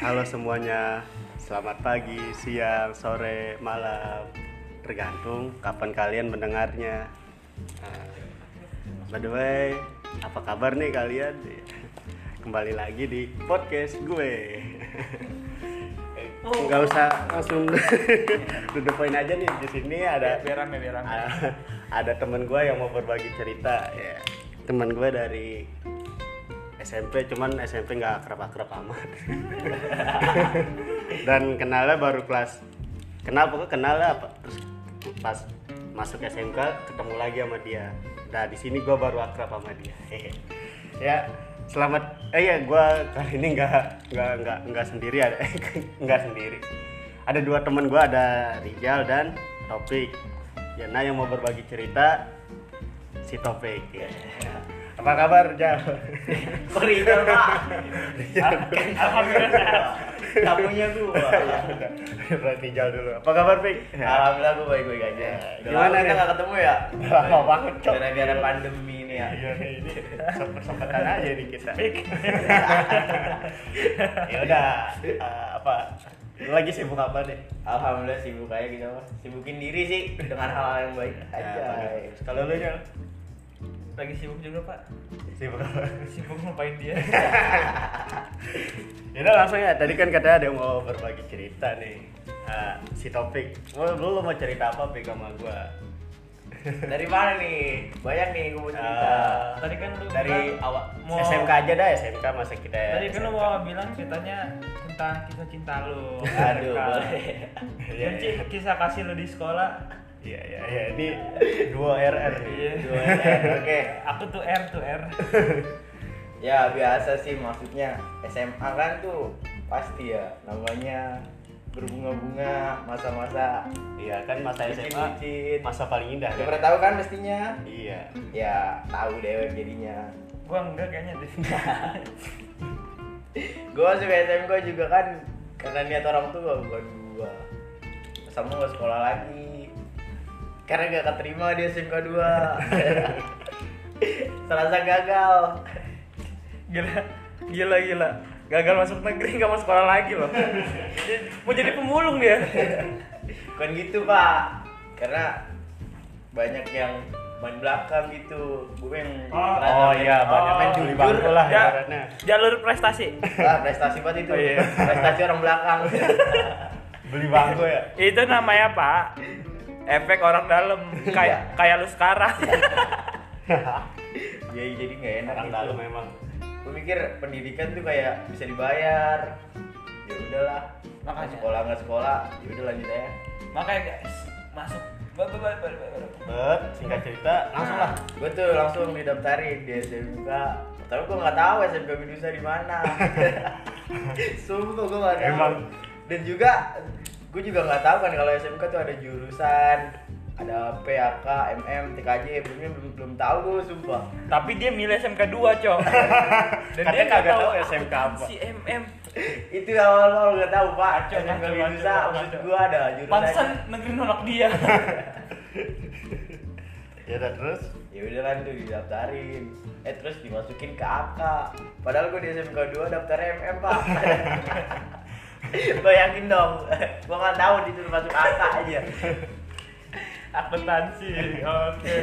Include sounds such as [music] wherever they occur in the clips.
Halo semuanya, selamat pagi, siang, sore, malam, tergantung kapan kalian mendengarnya. Nah, by the way, apa kabar nih kalian? Kembali lagi di podcast gue. Nggak usah langsung [laughs] duduk poin aja nih di sini ada biar rame biar rame ada- ada temen gue yang mau berbagi cerita ya temen gue dari SMP cuman SMP nggak kerap kerap amat dan kenalnya baru kelas kenal pokoknya kenal lah apa- terus pas masuk SMK ketemu lagi sama dia nah di sini gue baru akrab sama dia [laughs] ya selamat eh ya gue kali ini nggak nggak nggak nggak sendiri ada [laughs] nggak sendiri ada dua temen gue ada Rijal dan Topik Yana yang mau berbagi cerita si Topik ya. [laughs] apa kabar Rijal [laughs] Koridor pak Iya, Alhamdulillah Tamunya gua Berarti jauh dulu. Apa kabar, Pik? Alhamdulillah gua baik-baik aja Udah Gimana lama kita nih? gak ketemu ya Udah lama banget, Cok. Gara-gara pandemi ini ya Iya nih, ini sempet-sempetan aja nih kita. [laughs] ya udah, eh, apa? Lu lagi sibuk apa nih? Alhamdulillah sibuk aja kita mah Sibukin diri sih dengan hal-hal yang Iya, baik aja bagus. Kalau lu Jal? lagi sibuk juga pak sibuk apa? sibuk ngapain dia Ya udah langsung ya. Tadi kan katanya ada yang mau berbagi cerita nih. Eh, si topik. Lu, lu mau cerita apa, Pik sama gua? Dari mana nih? Banyak nih gua mau cerita Eh, tadi kan lu Dari bilang awal mau SMK aja dah, SMK masa kita tadi kan lu SMK. mau bilang ceritanya tentang kisah cinta lu Aduh Kan? boleh Iya, Dan iya. ci- kisah kasih lu di sekolah Iya, iya, iya. Ini dua RR nih. Iya. Dua, eh, Oke Iya. aku tuh R tuh R Ya biasa sih maksudnya SMA kan tuh pasti ya namanya berbunga-bunga masa-masa Iya kan masa SMA Bucin-bucin. masa paling indah Udah kan? pernah tahu kan mestinya? Iya. Ya, tahu deh jadinya. gua enggak kayaknya deh Gue masuk SMK juga kan karena niat orang tua bukan gua. Sama gak sekolah lagi. Karena gak keterima di SMK [laughs] 2. Serasa gagal. gila gila gila gagal masuk negeri nggak mau sekolah lagi loh Dia- mau jadi pemulung dia Bukan gitu, Pak. Karena banyak yang main belakang gitu. Gue yang Oh, Oh iya, banyak main Oh, juli jujur, bangku lah ya. ibaratnya. jalur prestasi Wah, prestasi banget itu. Oh, iya. Prestasi orang [laughs] belakang. Beli bangku ya. itu namanya pak efek orang dalam kayak kayak lu sekarang ya jadi nggak enak Orang gitu. dalam ya. memang. gue mikir pendidikan tuh kayak bisa dibayar ya udahlah Makanya. Nggak sekolah nggak sekolah ya udah lanjut aja makanya guys masuk Ba- ba- ba- ba- ba- ba- Bet, singkat cerita, langsung lah. gue Nah, tuh langsung didaftarin di SMK tapi gue nggak tahu SMK Bidusa di [laughs] mana sumpah gue nggak tahu Emang. dan juga gue juga nggak tahu kan kalau SMK tuh ada jurusan ada PAK, MM, TKJ, belum belum, belum tahu gue [laughs] sumpah. tapi dia milih SMK 2 [laughs] cok dan Katanya dia nggak kagak tahu tahu SMK apa. si MM Itu awal-awal nggak tahu pak. Kacau, SMK kacau, Bidusa, kacau, maksud kacau. gue ada jurusan. pantesan negeri nolak [laughs] dia Ya udah terus. ya udah kan tuh didaftarin eh terus dimasukin ke AK padahal gue di SMK 2 daftar MM [laughs] pak bayangin dong gue nggak tahu disuruh masuk AK aja akuntansi oke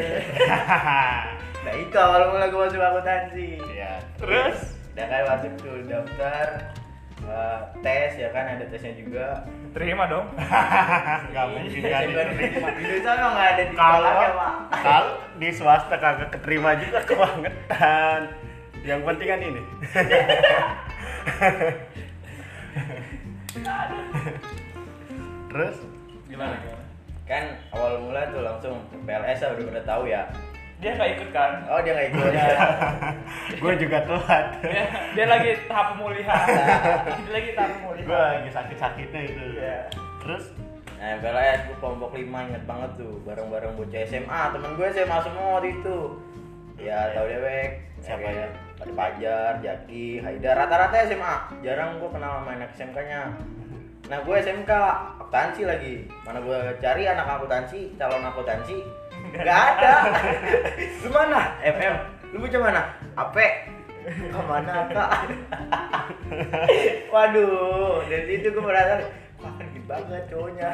nah itu awal mula gue masuk akuntansi Iya. terus udah kan masuk tuh daftar eh, tes ya kan ada tesnya juga terima dong Enggak mungkin kan SMK itu. di sana nggak ada di Kalau sekolahnya Iya, pak kalau di swasta kagak keterima juga kebangetan. Yang penting kan ini. Terus gimana gimana kan awal mula tuh langsung PLS lah udah pada tahu ya dia nggak ikut kan oh dia nggak ikut Iya. ya gue juga telat. dia, dia lagi tahap [laughs] pemulihan dia lagi tahap gue pemulihan lagi sakit-sakitnya itu. Iya. Terus Nah, PLS gue kelompok 5 inget banget tuh bareng-bareng bocah SMA, temen gue SMA semua waktu itu. Ya, tahu dewek. Iya. Siapa Kayak ya? Ada Pajar, Jaki, Haidar, rata-rata SMA. Jarang gue kenal sama anak SMK-nya. Nah, gue SMK akuntansi lagi. Mana gue cari anak akuntansi, calon akuntansi? [laughs] Gak ada. lu mana? MM. Lu bocah mana? AP. kemana [laughs] kak waduh dari situ gue merasa wah gini banget cowoknya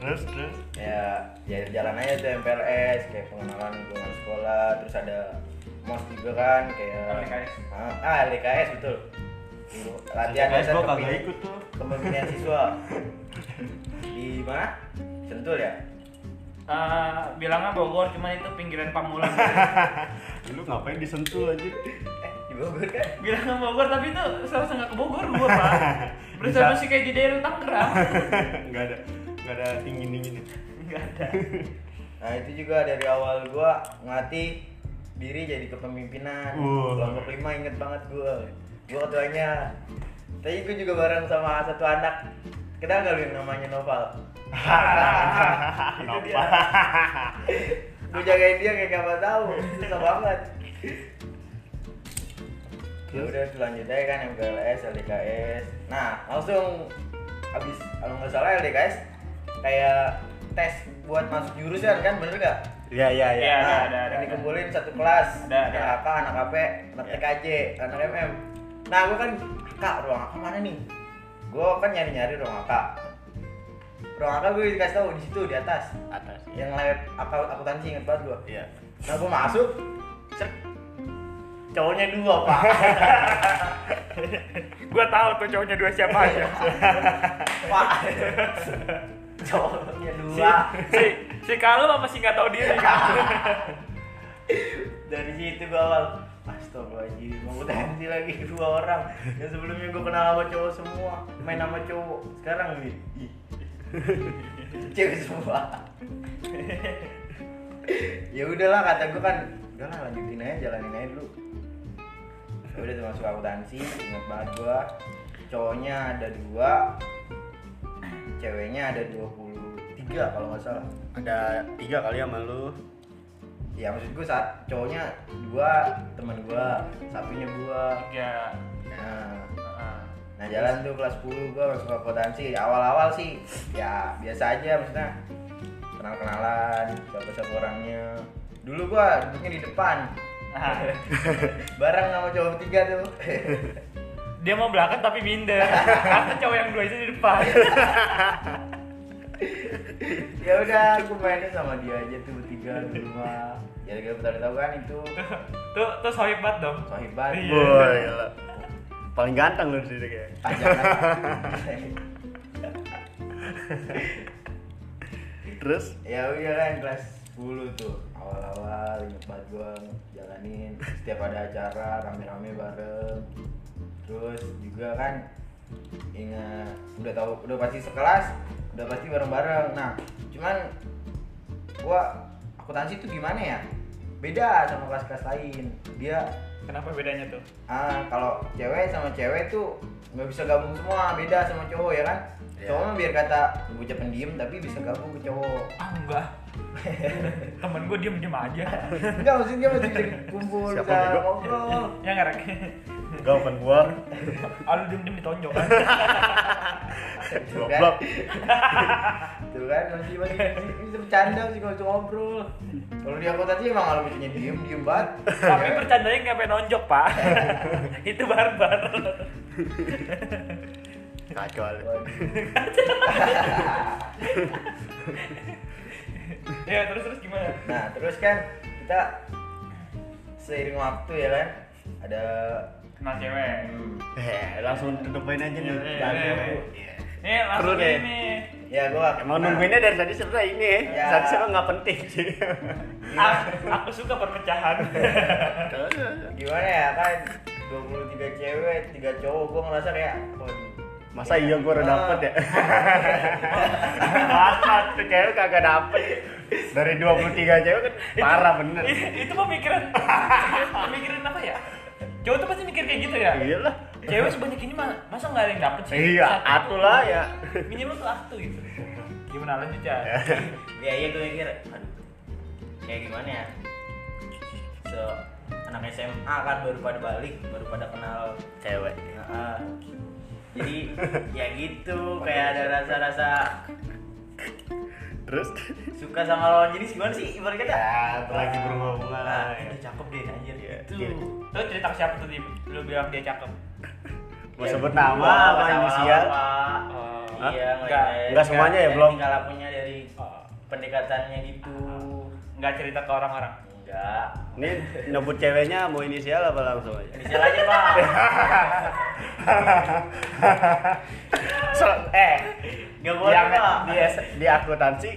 terus terus ya ya jalan aja tuh MPLS kayak pengenalan lingkungan sekolah terus ada mos juga kan kayak LDKS. ah, ah LDKS betul Dulu latihan Guys, gua kagak dasar kepemimpinan- ikut tuh kepemimpinan siswa di mana sentul ya Eh, bilangnya Bogor, cuman itu pinggiran [laughs] Pamulang. "Eh, lu ngapain disentul [laughs] aja eh di Bogor kan bilangnya Bogor, tapi itu seharusnya nggak ke Bogor gua [laughs] pak. Bersama Bisa. sih kayak di daerah Tangerang. nggak ada nggak ada tinggi tingginya [laughs] Nggak ada. nah itu juga dari awal gua ngelatih diri jadi kepemimpinan Wah. kelompok lima inget banget gua gua ketuanya tapi gua juga bareng sama satu anak kenal gak lu yang namanya Noval itu dia gua jagain dia kayak gak apa tahu susah banget ya udah selanjutnya kan MPLS LDKS nah langsung abis kalau nggak salah LDKS kayak tes buat masuk jurusan kan bener gak ya ya ya Iya. ada, Nah, ada, ada, yang ada. dikumpulin satu kelas Ada, ada. anak AK anak AP anak Ya. TKJ anak MM nah gue kan kak ruang AK mana nih gue kan nyari nyari ruang AK ruang AK gue dikasih tahu di situ di atas atas ya yang lab aku akuntansi inget banget gue Iya. nah gue masuk set cowoknya dua pak Gua tahu tuh cowoknya dua siapa aja. pak cowoknya si, dua si, si Kalum apa sih nggak tahu diri? kan? dari situ gue awal Astagfirullahaladzim, mau ganti lagi dua orang Yang sebelumnya gue kenal sama cowok semua Main sama cowok, sekarang nih ih, Cewek semua Ya udahlah kata gue kan Udahlah lanjutin aja, jalanin aja dulu Ya Udah tuh masuk akuntansi, ingat banget gue Cowoknya ada dua Ceweknya ada 23 kalau nggak salah ada tiga kali sama lu ya maksud gue saat cowoknya dua teman gua satunya gua Ya. nah heeh. nah jalan tuh kelas 10 gua masuk akuntansi awal-awal sih ya biasa aja maksudnya kenal-kenalan siapa siapa orangnya dulu gua duduknya di depan Nah, [laughs] bareng sama cowok tiga tuh [laughs] dia mau belakang tapi [laughs] minder. Karena cowok yang dua itu di depan. [laughs] ya udah aku mainnya sama dia aja tuh bertiga di rumah ya gak pernah tahu kan itu tuh tuh sohib banget dong. sohib banget Iya. Wah, gila. Paling ganteng lu di situ kayak. Ah, jangan. Terus ya udah kan kelas 10 tuh awal-awal inget banget gua jalanin setiap ada acara rame-rame bareng terus juga kan ingat udah tahu udah pasti sekelas udah pasti bareng-bareng nah cuman gua akuntansi tuh gimana ya beda sama kelas-kelas lain dia Kenapa bedanya tuh? ah kalau cewek sama cewek tuh nggak bisa gabung semua beda sama cowok ya kan Iya. cowok mah biar kata bocah pendiam tapi bisa gabung ke cowok Ah enggak. [laughs] Temen gue diem diem aja. Enggak maksudnya masih bisa kumpul Siapa bisa bego? [laughs] ngobrol. Gitu ya nggak rek. [laughs] gak open gua. Ah lu diem diem ditonjok. [laughs] Tuh kan. Goblok. Tuh kan masih masih masih bisa bercanda masih bisa ngobrol. Kalau di aku tadi emang kalau bikinnya diem diem banget. tapi Ya. bercandanya nggak pengen nonjok pak. [laughs] itu barbar. [laughs] Kacau lu. ya terus terus gimana? Nah terus kan kita seiring waktu ya kan ada Kenal cewek. Eh, langsung tutupin aja nih. Iya, iya, Jangan iya. nunggu. Iya. Nih langsung Perlu deh. ini. ya gua Emang nungguinnya dari tadi sebenarnya ini ya. Ya. Tadi sebenarnya nggak penting [laughs] sih. Ah, aku suka perpecahan. [laughs] gimana ya kan 23 cewek, 3 cowok, gua ngerasa kayak waduh. Masa iya gua udah Ah. dapet ya? [laughs] Masa tuh cewek kagak dapet Dari 23 cewek kan parah bener itu pemikiran [laughs] pemikiran apa ya? Cowok tuh pasti mikir kayak gitu ya. Iya lah Cewek sebanyak ini mah masa nggak ada yang dapet sih? Iya, Satu atuh tuh. lah ya. Minimal tuh atu gitu. Gimana lanjut ya? ya iya gue mikir aduh kayak gimana ya so anak SMA kan baru pada balik baru pada kenal Cewek Nah, [laughs] jadi ya gitu kayak ada rasa-rasa terus suka sama lawan jenis gimana sih ibarat kata ya lagi "Ah, berhubungan nah, lah ya. itu cakep deh anjir Iya. Gitu. itu Iya. lo cerita ke siapa tuh Dim? lu bilang dia cakep mau sebut nama apa inisial Hah? iya Enggak. ngeliat. Enggak semuanya ya, Ngeliat belum? tingkah lakunya dari pendekatannya gitu Oh. nggak cerita ke orang-orang enggak ini nyebut ceweknya mau inisial apa langsung aja inisial aja pak [laughs] So, eh Nggak boleh, yang Pak. di, S- di akuntansi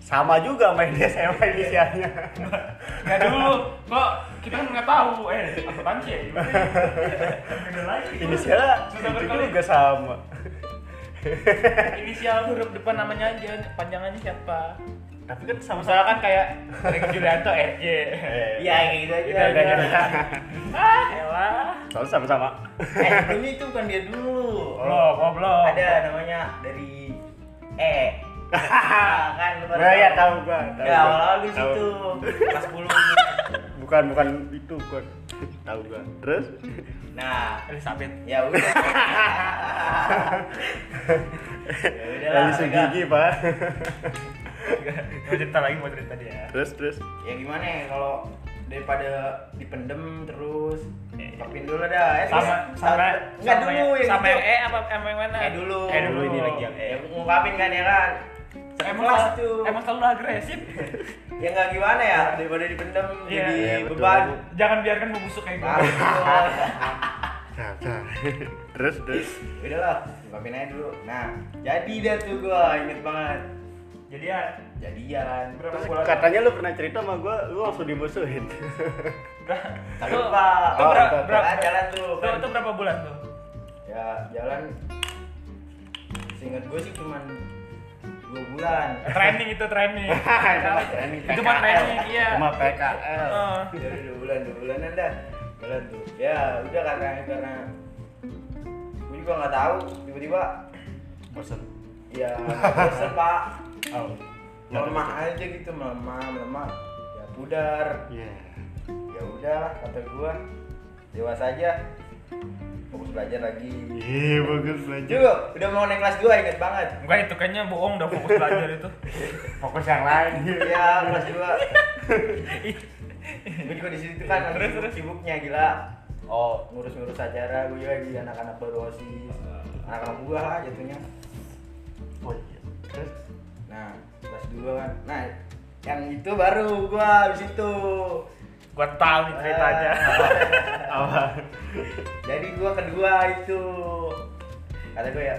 sama juga main di SMA inisialnya [laughs] nggak dulu kok kita kan nggak tahu eh apa panci ya Beda [laughs] lagi inisialnya Susah itu berkali. juga sama inisial huruf depan namanya aja panjangannya siapa tapi kan sama Eh. sama misalkan kayak Rick Julianto RJ iya kayak gitu aja Udah, udah, udah. iya. ah elah sama sama eh dulu itu bukan dia dulu belum oh belum ada namanya dari E [laughs] Nah, kan lu baru Nah, iya, ya tahu gua tahu ya gua. awal-awal di Tahu. situ kelas 10 bukan bukan itu bukan tahu gua terus nah Elizabeth ya [laughs] udah ya udah lah dari mereka. gigi pak [laughs] mau cerita lagi mau cerita dia terus terus ya gimana ya kalau daripada dipendem terus ungkapin dulu dah eh, sama terus- sama nggak sama dulu yang- ya sama yang E apa sama yang mana eh dulu eh dulu ini lagi yang ya ngungkapin kan ya kan emang Kelas selalu- tuh. emang selalu agresif ya nggak gimana ya daripada dipendem Iya. jadi Iya, betul. beban jangan biarkan membusuk kayak Parah, [laughs] gue betul. Nah, nah. terus terus Udah lah, ungkapin aja dulu. Nah, jadi dah tuh gua inget banget. jadi ya Jadian. berapa Terus bulan katanya lu pernah cerita sama gua lu langsung dimusuhin Tapi Tuh, lupa. tuh Oh, berapa tuh, berapa Nah, jalan tuh. tuh, kan. itu berapa bulan tuh Ya, jalan. Seingat gua sih cuman dua bulan. training itu training [laughs] Training itu mah PKL. training iya sama PKL Heeh. Dari Ya, dua bulan, dua bulanan dah. Jalan tuh. Ya, udah karena karena gua juga nggak tahu tiba-tiba bosan ya bosen pak oh melemah aja gitu melemah melemah ya pudar Iya. ya udahlah kata gua dewasa aja fokus belajar lagi Iya, bagus belajar. juga udah mau naik kelas 2 inget banget Enggak itu kayaknya bohong udah fokus belajar itu. Fokus yang lain. ya kelas [laughs] 2 gue juga di situ kan lagi Terus, sibuk- terus. sibuknya gila oh ngurus-ngurus acara gue juga di anak-anak baru osis anak-anak gua lah jatuhnya Oh iya. Terus nah kelas 2 kan nah yang itu baru gua habis itu Gua tahu nih Eh, ceritanya. apa? jadi gua kedua itu kata gue ya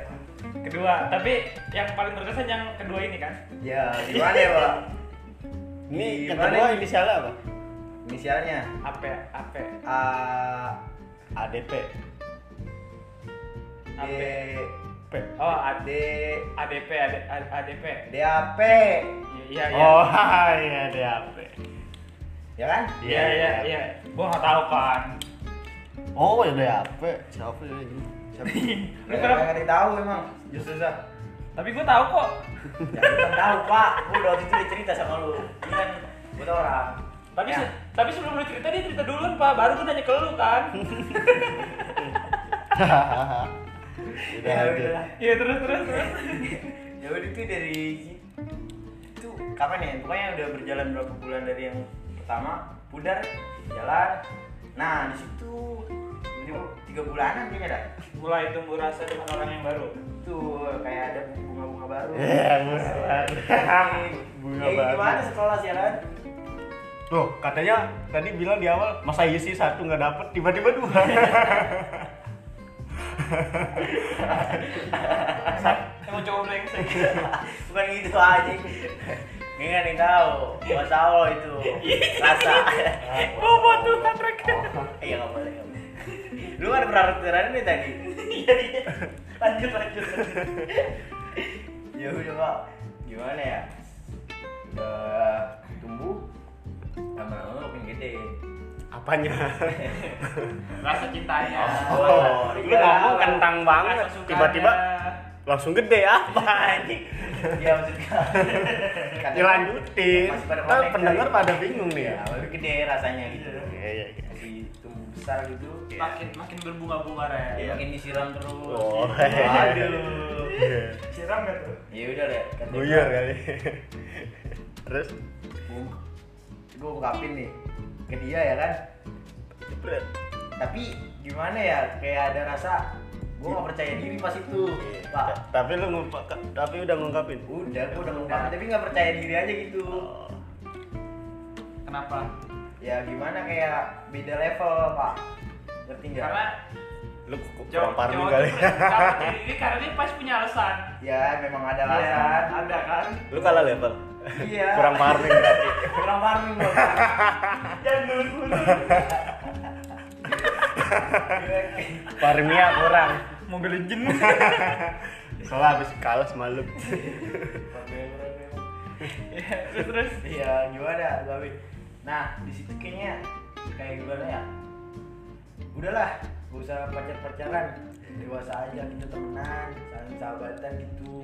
Kedua, tapi yang paling berkesan yang kedua ini kan. ya gimana ya pak Ini yang Gimana kedua nih? inisialnya apa? inisialnya Apa? Apa? A ADP. D P. Oh, D AD ADP AD, ADP. D A P Iya, Iya, iya. [laughs] Oh, iya ADP. ya kan Iya, iya, iya. Gua enggak tahu kan. Oh, ya ADP. Siapa ya [laughs] ini? Siapa? [laughs] Lu Lu pernah- nggak ngerti tahu emang justru sah Tapi gua tahu kok. ya lu kan tahu pak gua udah waktu itu udah cerita sama lu ini kan gua tau orang Tapi Ya. se- tapi sebelum lu cerita dia cerita duluan, Pak. Baru gua nanya ke lu kan. Udah ya lanjut. udah Iya, terus terus terus. ya udah itu dari itu kapan ya pokoknya udah berjalan berapa bulan dari yang pertama pudar jalan nah di situ tiba-tiba tiga bulanan kayaknya dah Mulai tumbuh rasa dengan orang yang baru. tuh kayak ada bunga-bunga baru Iya, buset. [laughs] Bunga bunga ya, baru. gimana sekolah sih kan Tuh, katanya tadi bilang di awal masa iya sih satu nggak dapet tiba-tiba dua. Emang cowok brengsek. [laughs] bukan gitu aja Ini kan yang tahu, bahasa Allah itu rasa. Bobo tuh tatrek. Iya nggak boleh. nggak boleh. [laughs] Lu kan peraturan ini tadi. Iya, iya. Lanjut lanjut. lanjut. Ya udah pak, gimana ya? Udah tumbuh, lama-lama makin [laughs] gede. [laughs] Apanya? Rasa cintanya. Oh, lu iya. ngomong kentang banget. Rasa sukanya. Tiba-tiba langsung gede [laughs] apa anjing? Ya maksudnya. Dilanjutin. Masih pada Ntar konek pendengar kali. pada bingung nih Ya, ya. tapi gede rasanya gitu. Iya, iya, iya. masih tumbuh besar gitu makin makin berbunga-bunga Ren Iya. makin disiram terus Oh, aduh Siram gak tuh? ya udah deh kata Guyur kali. Terus gue ungkapin nih ke dia ya kan jebret. tapi gimana ya kayak ada rasa gue gak percaya diri pas itu Ta- pak Tapi lu ngungkap, tapi udah ngungkapin. Uh. udah gue udah ngungkapin tapi gak percaya diri aja gitu kenapa ya gimana kayak beda level pak ngerti nggak karena Lu ku- ku- cowok kurang parno cowok kali. ya. itu bersikap diri ini karena dia pasti punya alasan ya memang ada Iya, alasan ada kan Lu kalah level. iya [laughs] Kurang parno berarti. kurang warning gue Iya. jangan dulu [laughs] Parmia kurang. Mobile Legend. Soalnya habis kalah semalam. Iya, terus terus. iya gimana tapi nah di situ kayaknya kayak gimana ya udahlah gak usah pacar pacaran dewasa aja kita temenan saling sahabatan gitu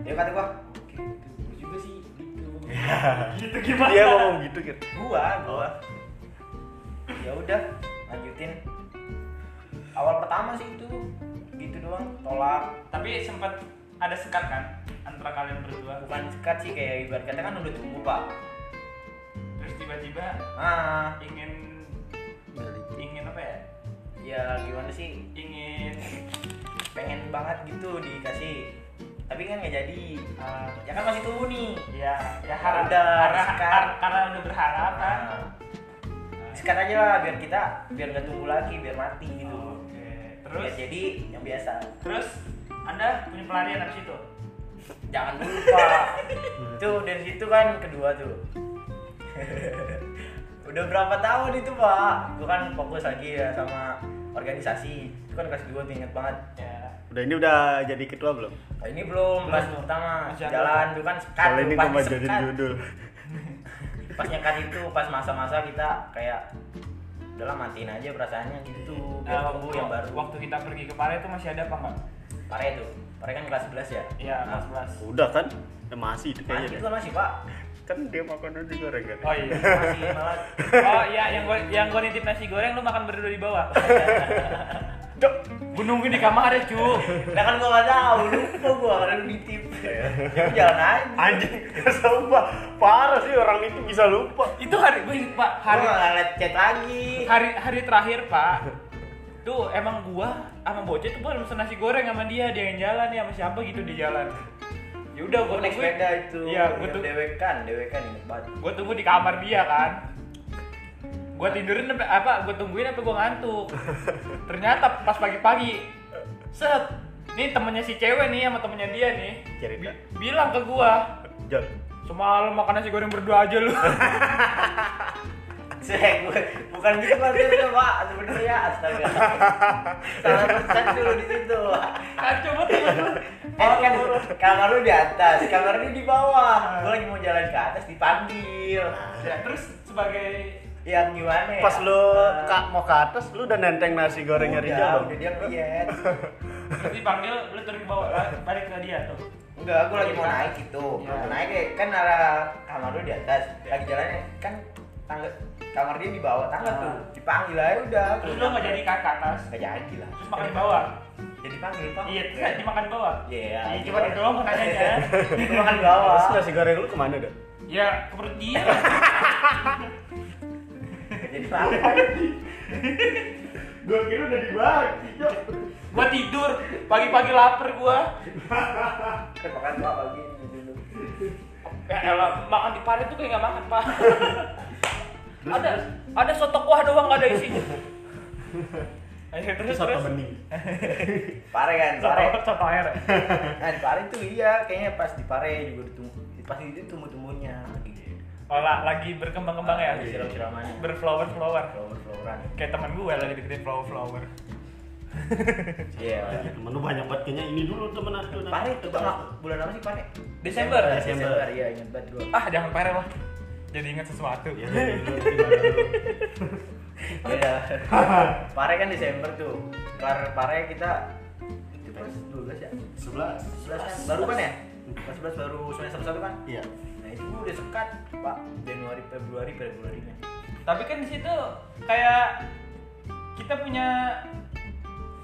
ya kata gua oke gitu gua juga sih gitu Gitu gimana? Dia ngomong gitu gitu. gua gua ya udah lanjutin awal pertama sih itu gitu doang tolak tapi sempat ada sekat kan antara kalian berdua bukan sekat sih kayak ibarat kata kan udah tumbuh pak terus tiba-tiba ah ingin ingin apa ya ya gimana sih ingin pengen banget gitu dikasih tapi kan nggak jadi ya kan masih tumbuh nih eh, ya ya harap Udah, karena, sekat. karena udah berharap kan Nah, sekat aja lah biar kita biar nggak tumbuh lagi biar mati gitu oke ya, Oh. terus jadi yang biasa terus anda punya pelarian abis itu jangan lupa tuh dari situ kan kedua tuh [laughs] udah berapa tahun itu pak gue kan fokus lagi ya sama organisasi itu kan kelas 2 tuh inget banget ya Udah ini udah jadi ketua belum? Oh, ini belum kelas pertama Masih ada. jalan tuh kan sekat Kalau tuh, ini pas gua mau disekat. jadi judul. pas nyekat itu pas masa-masa kita kayak udahlah matiin aja perasaannya gitu biar Nah, tunggu waktu, yang baru waktu kita pergi ke Pare itu masih ada apa enggak? pare itu pare kan kelas 11 ya Iya, Nah, kelas Udah kan? Eh, masih itu masih kayaknya. itu deh. kan masih pak Kan dia makan udah goreng kan. 11. Oh [laughs] iya. masih malah Oh iya, yang gua yang gua nitip nasi goreng lu makan berdua di bawah. Dok, gua nungguin di kamar ya, cu. nah kan gua nggak tahu lupa gua karena lu nitip ya jalan aja Anjing, [laughs] sumpah parah sih orang itu bisa lupa. Itu hari gua ingat, Pak, gua hari nggak ngeliat chat lagi hari hari terakhir, Pak. Tuh emang gua sama Bocet tuh gua harus pesen nasi goreng sama dia, dia yang jalan ya sama siapa gitu di jalan. Ya udah gua gua naik sepeda itu Iya, Yang gua tuh dewekan dewekan inget banget gue tunggu di kamar dia kan gue tidurin sampai apa gue tungguin sampai gue [laughs] ngantuk ternyata pas pagi-pagi set nih temennya si cewek nih sama temennya dia nih Cerita. bi- bilang ke gue Jol. semalam makan nasi goreng berdua aja [laughs] lu Cek, bu- bukan gitu maksudnya pak sebenarnya astaga salah pesan dulu di situ Pak. kacau banget temen lu Eh, kan kamar lu di atas, kamar lu di bawah. Gua lagi mau jalan ke atas dipanggil. Ya, terus sebagai Yang gimana ya? Pas lu Eh, ka- mau ke atas, lu udah nenteng nasi gorengnya udah, Rijal Udah iya. belum? dia ngeliat. terus dipanggil lu turun ke bawah eh, balik ke dia tuh Enggak, gua lagi mau naik gitu. Iya. Mau naik ya, kan arah kamar lu di atas. Lagi jalannya kan tangga kamar dia di bawah tangga Ah. tuh. Dipanggil aja udah. terus lu nggak jadi ke ke atas Nggak jadi lah. terus makan di bawah Jadi panggil pak. iya terus nggak dimakan di bawah Iya. Iya, cuma itu doang [laughs] [laughs] pertanyaannya Gua makan di Terus [laughs] bawah. nasi goreng lu kemana dah? ya ke perut dia Jadi makan. Gua kira udah dibagi, Cok. gua tidur pagi-pagi lapar gua Kan makan pak pagi ini dulu. ya elah makan di parit tuh kayak nggak makan [laughs] pak ada ada soto kuah doang nggak ada [laughs] isinya Ayo, terus Soto terus bening. Pare kan, pare. soto soto air Nah di Pare tuh iya, kayaknya pas di Pare juga ditunggu, pasti itu tumbuh tumbuhnya lagi. oh la- lagi berkembang-kembang ya Lagi siram-siramannya. berflower flower Flower floweran. kayak teman gue lagi deketin flower flower Iya. Temen lu banyak banget kayaknya ini dulu temen aku. nah. Pare itu tengah bulan apa sih Pare? Desember. Desember. Desember iya ingat banget gua. ah jangan parah lah jadi ingat sesuatu Ya, jadi lu, gimana lu? Iya. Pare kan Desember tuh. Kelar Pare kita itu kelas 12 ya? Sebelas. 11 kan? Baru kan ya? Kelas 11 baru semester 1 kan? Iya. Nah itu gua udah sekat Pak Januari Februari Februari nya. Tapi kan di situ kayak kita punya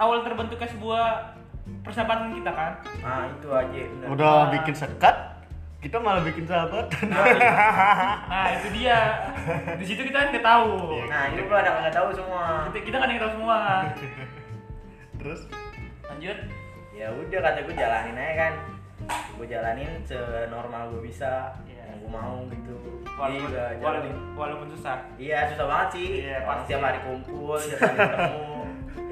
awal terbentuknya sebuah persahabatan kita kan. nah itu aja bener. Udah bikin sekat, kita malah bikin sahabatan. Nah itu dia. Di situ kita kan nggak tahu. nah itu gua ada nggak tahu semua Kita, kita kan yang tahu semua. [laughs] Terus Lanjut. ya udah kata gue jalanin aja kan gue jalanin senormal gue bisa Iya. yang gue mau gitu Iya Walaupun, juga jalanin walaupun, walaupun susah. iya susah banget sih Iya, Orang pasti. setiap hari kumpul setiap hari [laughs] ketemu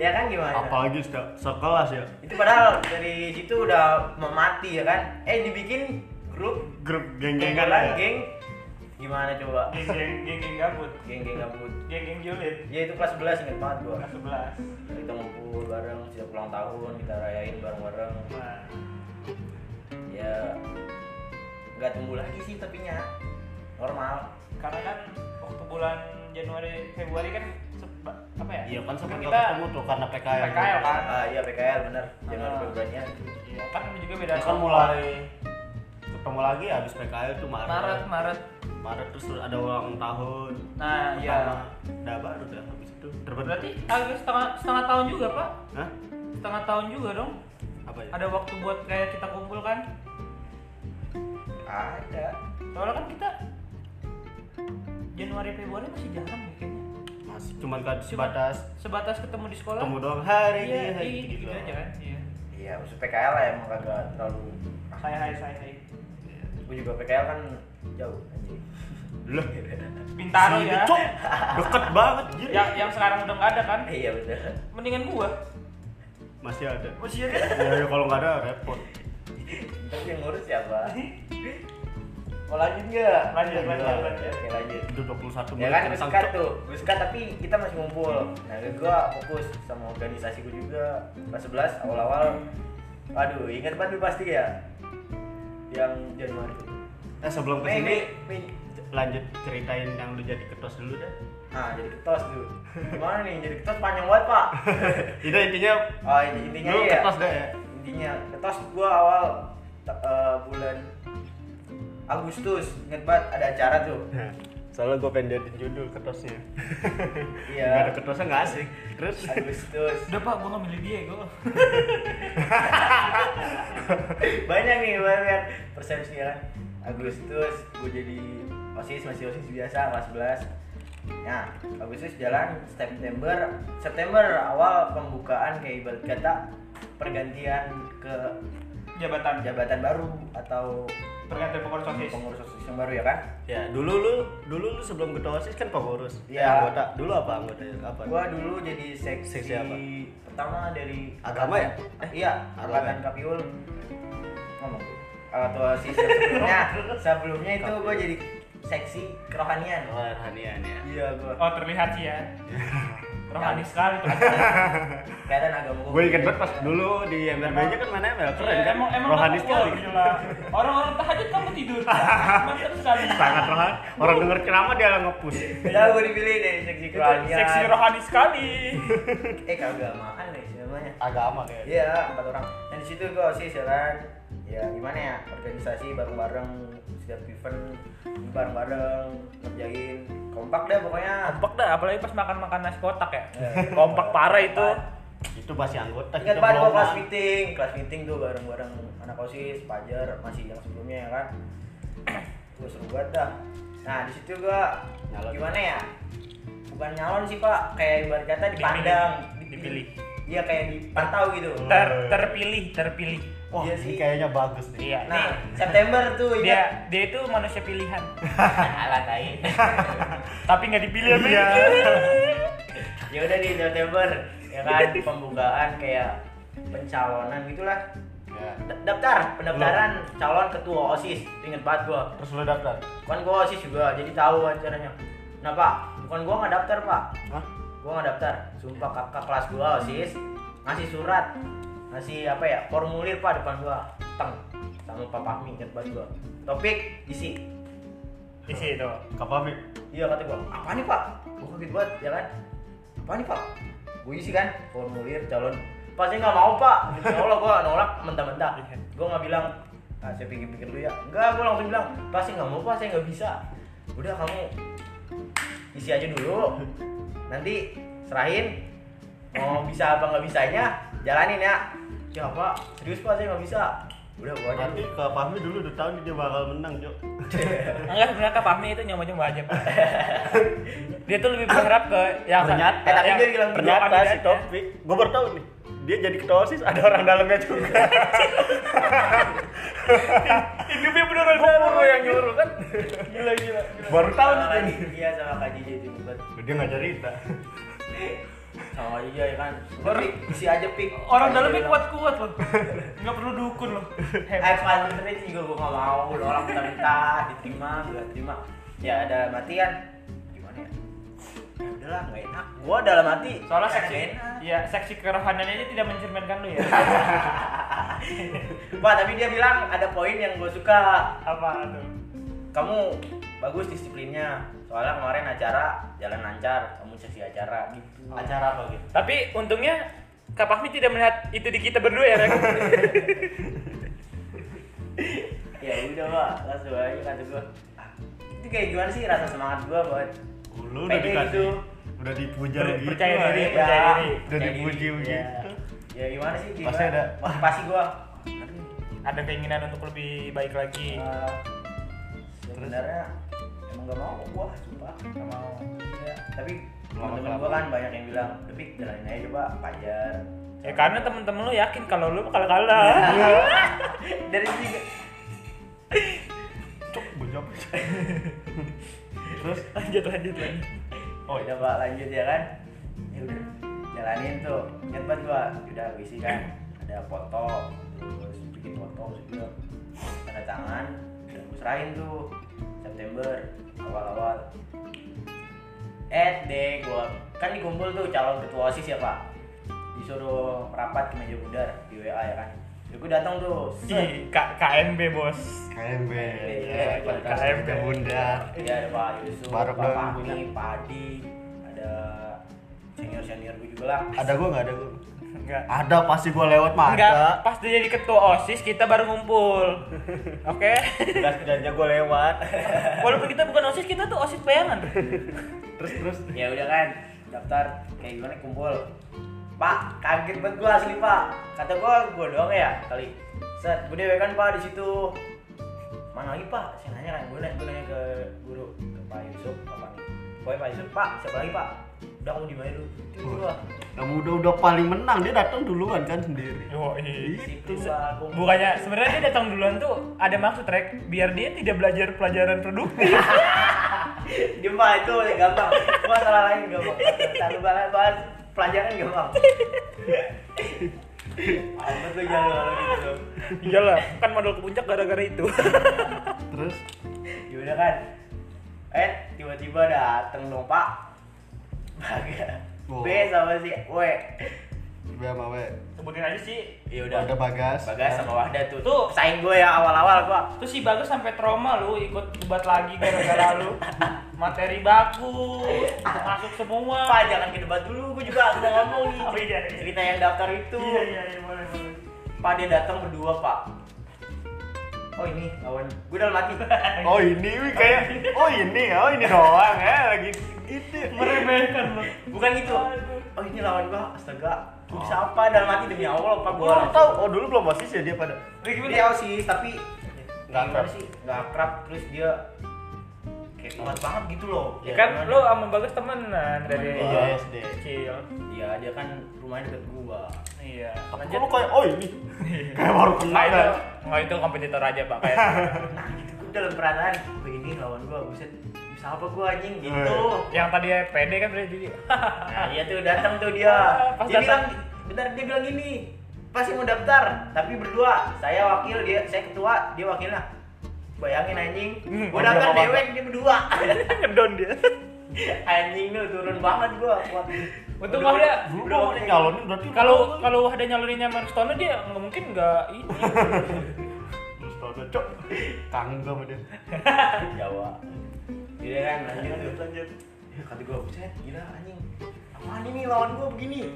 ya kan gimana apalagi sudah sekelas ya. itu padahal dari situ udah mau mati ya kan eh dibikin grup Grup geng-gengan geng-gengan ya. geng gimana coba Geng-geng geng-geng gabut. geng-geng gabut Geng-geng julid. ya itu kelas 11 inget banget gua Sebelas. kita ngumpul bareng setiap ulang tahun kita rayain bareng-bareng Nah, ya nggak tumbuh lagi sih tepinya normal karena kan waktu bulan Januari Februari kan seba- apa ya? Iya kan sempat Kan nggak kita ketemu tuh karena PKL. PKL kan. ah iya PKL bener jangan Ah. bebannya Iya, kan juga beda. Kita kan mulai ketemu lagi habis PKL tuh Maret. Maret, Maret. Maret terus ada ulang tahun. Nah, iya. pertama. Dah baru dah habis itu terbentuk. Berarti agak setengah setengah tahun juga, Pak. Hah? Setengah tahun juga dong. Apa ya? Ada waktu buat kayak kita kumpul kan? ada Soalnya kan kita Januari Februari masih jarang ya kayaknya. Masih cuman kan Cuma sebatas sebatas ketemu di sekolah. ketemu doang hari Iya, ini hari iya, ini gitu doang. aja kan. Iya. iya maksud PKL lah emang kagak terlalu Hai hai hai hai. gue juga PKL kan jauh anjing Lah, Bintaro sini, ya. Cok. Deket banget gitu. Yang Ya, yang sekarang udah nggak ada kan? iya bener Mendingan gua. Masih ada. Masih ada. Ya, ya, kalau nggak ada repot. tapi yang ngurus [laughs] siapa mau lanjut nggak Lanjut, lanjut, lanjut. Iya, Oke, lanjut Itu 21 ya menit kan gue tentang suka Cok. tuh gue suka tapi kita masih ngumpul nah gue Hmm. fokus sama organisasi gue juga kelas 11 awal-awal aduh ingat banget lu pasti ya yang Januari Eh sebelum Mei Mei kesini Mei lanjut ceritain yang lu jadi ketos dulu [laughs] deh. nah jadi ketos tuh gimana nih jadi ketos panjang banget pak Itu intinya oh ini intinya lu ya ketos deh ya. intinya ketos gue awal t- eh, bulan Agustus inget banget ada acara tuh Soalnya gue pengen jadiin judul ketosnya. [laughs] Iya. Gak ada ketosnya nggak asik. Terus Agustus Udah Pak, gua nggak milih dia gua. banyak nih banyak persepsi ya kan Agustus gue jadi osis masih osis biasa kelas 11 nah Agustus jalan September September awal pembukaan kayak ibarat kata pergantian ke Jabatan jabatan baru atau pergantian pengurus OSIS. pengurus osis yang baru ya kan ya dulu lu dulu lu sebelum ketua osis kan pengurus. Iya. Eh, Anggota dulu apa anggota apa? gue dulu jadi seksi, Seksi apa? pertama dari Agama ya? eh, iya Agama. angkatan kapiul ngomong gue atau osis yang sebelumnya sebelumnya itu gue jadi seksi kerohanian Rohanian ya. Iya [laughs] gua. Oh, terlihat sih ya. Rohani sekali tuh. Kelihatan agama gua. Gue inget banget pas dulu di MRB nya kan mana ML keren kan? Iya, Emang Oh. emang rohani kamu- sekali. wah, gila. Orang-orang tahajud kamu tidur. Mantap sekali. Sangat rohani. Orang denger ceramah dia lah ngepush. Ya gua dipilih dari seksi Itu kerohanian. Seksi rohani sekali. Eh keagamaan deh namanya. Agama kayaknya. Iya, empat orang. Dan di situ gua sih jalan ya gimana ya organisasi bareng-bareng setiap event bareng-bareng ngerjain kompak deh pokoknya Kompak dah, apalagi pas makan-makan nasi kotak ya. Eh, Kompak parah itu. Itu masih gitu, anggota. Ingat kita banget gua belum kelas ada. meeting, kelas meeting tuh bareng-bareng anak OSIS, Pajar, masih yang sebelumnya ya kan. Gua seru banget dah. Nah, di situ gua Nyalon. gimana ya? Bukan nyalon sih, Pak. Kayak ibarat kata dipandang, Dipilih. Iya, kayak dipantau gitu. Ter terpilih, terpilih. Wah, Iya ini sih. kayaknya bagus nih. Iya. Nah, Nah, September tuh [laughs] ingat. dia dia itu manusia pilihan. Alah, tai. Tapi nggak dipilih sama Iya. [laughs] ya udah di September ya kan pembukaan kayak pencalonan gitulah. Ya. Da- Daftar pendaftaran calon ketua OSIS. Itu Ingat banget gua. Terus lu daftar? kan gua osis juga jadi tahu acaranya nah pak bukan gua nggak daftar pak Hah? gua nggak daftar sumpah kakak kelas gua osis ngasih surat ngasih apa ya formulir pak depan gua teng sama pak Fahmi ingat banget gua topik isi Di situ. Kapami. iya kata gua apa nih pak gua kaget banget ya kan apa nih pak gua isi kan formulir calon pasti nggak mau pak ya Allah gua nolak mentah-mentah gua nggak bilang "Ah, saya pikir-pikir dulu ya enggak gua langsung bilang pasti nggak mau pak saya nggak bisa udah kamu isi aja dulu nanti serahin mau bisa apa nggak bisanya jalanin ya ya pak serius pak saya nggak bisa udah gua aja Nanti dulu. ke Fahmi dulu udah tahu nih dia bakal menang, Jo. Enggak sebenarnya Kak Fahmi itu nyoba-nyoba [laughs] aja. Pak. Dia tuh lebih berharap ke yang Ternyata. eh, tapi Tadi dia bilang kedua Ternyata si kandidat ya. Topik, gue baru tahu nih. Dia jadi ketua OSIS ada orang dalamnya juga. Hidupnya beneran dalam Gua yang nyuruh kan. Gila gila. baru tahu Sama nih lagi tadi. dia sama kak Jiji itu buat Dia nggak cerita. sama iya ya kan Tapi isi aja pik Orang dalamnya kuat-kuat loh. Enggak perlu dukun loh. iya, Eh, Patrick juga gue gak mau Udah orang minta-minta, diterima, gak terima Ya ada matian Gimana ya? Ya udahlah, gak enak Gue dalam hati Soalnya "Ya, seksi, gak enak." [laughs] ya seksi kerohaniannya aja tidak mencerminkan lu ya. Pak, tapi dia bilang ada poin yang gue suka Apa tuh? Kamu bagus disiplinnya Soalnya kemarin acara jalan lancar Kamu sesi acara gitu Acara apa gitu? Tapi untungnya Kak Fahmi tidak melihat itu di kita berdua ya, Rek. Ya udah pak, langsung aja kata gue Itu kayak gimana sih rasa semangat gue buat Lu udah Pede dikasih, gitu. udah dipuja Per- gitu. percaya diri, akhirnya. percaya Ya, diri. Udah Percaya diri. dipuji Ya, begitu. ya gimana sih? gitu. Pasti ada. Pasti gua Ada keinginan untuk lebih baik lagi. Eh, sebenarnya emang gak mau gua sumpah gak mau ya, tapi Mau temen-temen apa? gua kan banyak yang bilang tapi jalanin aja coba pajar Eh, Iya. Ya karena temen-temen lu yakin kalau lu bakal kalah. Iya. [laughs] dari sini Cuk, bojok. Terus lanjut lanjut lagi. oh coba lanjut ya kan ya udah jalanin tuh ingat banget gua udah gua isi kan ada foto terus bikin foto juga tanda tangan dan gua serahin tuh September awal-awal eh deh gua kan dikumpul tuh calon ketua osis ya pak disuruh rapat ke meja bundar di WA ya kan Jadi gua datang tuh set. Ih, K- KMB bos. KMB. ya, Iya, Podcast KMB. Kita Bunda. Iya ada Pak Yusuf, Barok Pak doang Fahmi, Pak Adi, ada senior senior gue juga lah. Ada gua nggak ada gua? Enggak. Ada pasti gua lewat mah Enggak, ada. pas dia jadi ketua OSIS kita baru ngumpul. Oke. Gas ganja gua lewat. Walaupun kita bukan OSIS, kita tuh OSIS bayangan. Terus terus Ya udah kan, daftar kayak gimana kumpul. Pak, kaget banget gue asli Pak. Kata gue, gue doang ya kali. Set, gue dewe kan Pak di situ. Mana lagi Pak? Saya nanya kan, gue nanya, gua nanya ke guru, ke Pak Yusuf, Pak Fahmi. Pokoknya Pak Yusuf, Pak, siapa lagi Pak? Udah kamu di mana dulu? Itu gua. kamu udah udah paling menang dia datang duluan kan sendiri. Yo, Itu Pak, kumpul. Bukannya sebenarnya dia datang duluan tuh ada maksud Rek biar dia tidak belajar pelajaran produktif. Dia mah itu udah gampang. Masalah lain gampang. Terlalu banget bahas pelajaran gampang. Amat lu jangan kalau gitu dong. [laughs] Iyalah, kan modal ke puncak gara-gara itu. [laughs] Terus Gimana kan? Eh, tiba-tiba dateng dong Pak. Baga. Wow. B sama si W. gue sama gue. Sebutin aja sih. Ya udah. Ada Bagas. Ya. Bagas sama Wahda tuh. Tuh. Tuh, saing gue ya awal-awal gua. Terus si Bagus sampai trauma lu ikut debat lagi gara-gara lu. Materi baku masuk semua. Pak, jangan ke debat dulu, gue juga udah ngomong nih. Oh, iya, iya. Cerita yang daftar itu. iya boleh boleh. Pak, dia datang berdua, Pak. Oh ini lawan gue dalam hati. [laughs] Oh ini wih, kayak oh ini oh ini doang ya lagi gitu. Meremehkan lu. Bukan gitu. Oh ini lawan gua, astaga. Gua bisa apa dalam hati demi Allah Gua apa Oh. gua? baru tahu oh dulu belum basis ya dia pada. Iya, Dia sih, tapi Nggak gimana akrab. sih? Nggak akrab terus dia kayak kuat banget gitu loh. Ya kan gimana? lu sama Bagus temenan dari Temen gua. Iya, SD. kecil. Iya, dia kan rumahnya deket gua. [laughs] Iya. Tapi kok lu kayak oh ini kayak baru kenal Nah, itu, kan. nah, itu kompetitor aja pak [laughs] kayak Nah, gitu gua dalam perasaan gua ini lawan gua, buset. Bisa apa gua anjing gitu. Eh. yang tadi PD kan udah [laughs] jadi Nah, iya tuh datang tuh dia. Ah, Pas dia datang. bilang bentar dia bilang gini. Pasti mau daftar, tapi berdua. Saya wakil, dia saya ketua, dia wakilnya. Bayangin anjing, Hmm, gua dia daftar mau dewek dia berdua. [laughs] ngedown dia anjing lu turun banget gua kuat. Untung kan Wahda Dulu mau nyalonin berarti kalau kalau Wahda nyalurinnya Marstono dia nggak mungkin nggak ini terus tau udah cok kangen gua sama dia. Jawa. Iya kan, anjing tuh. lanjut. Ya, Kata gua, buset, gila anjing. Apaan ini lawan gua begini?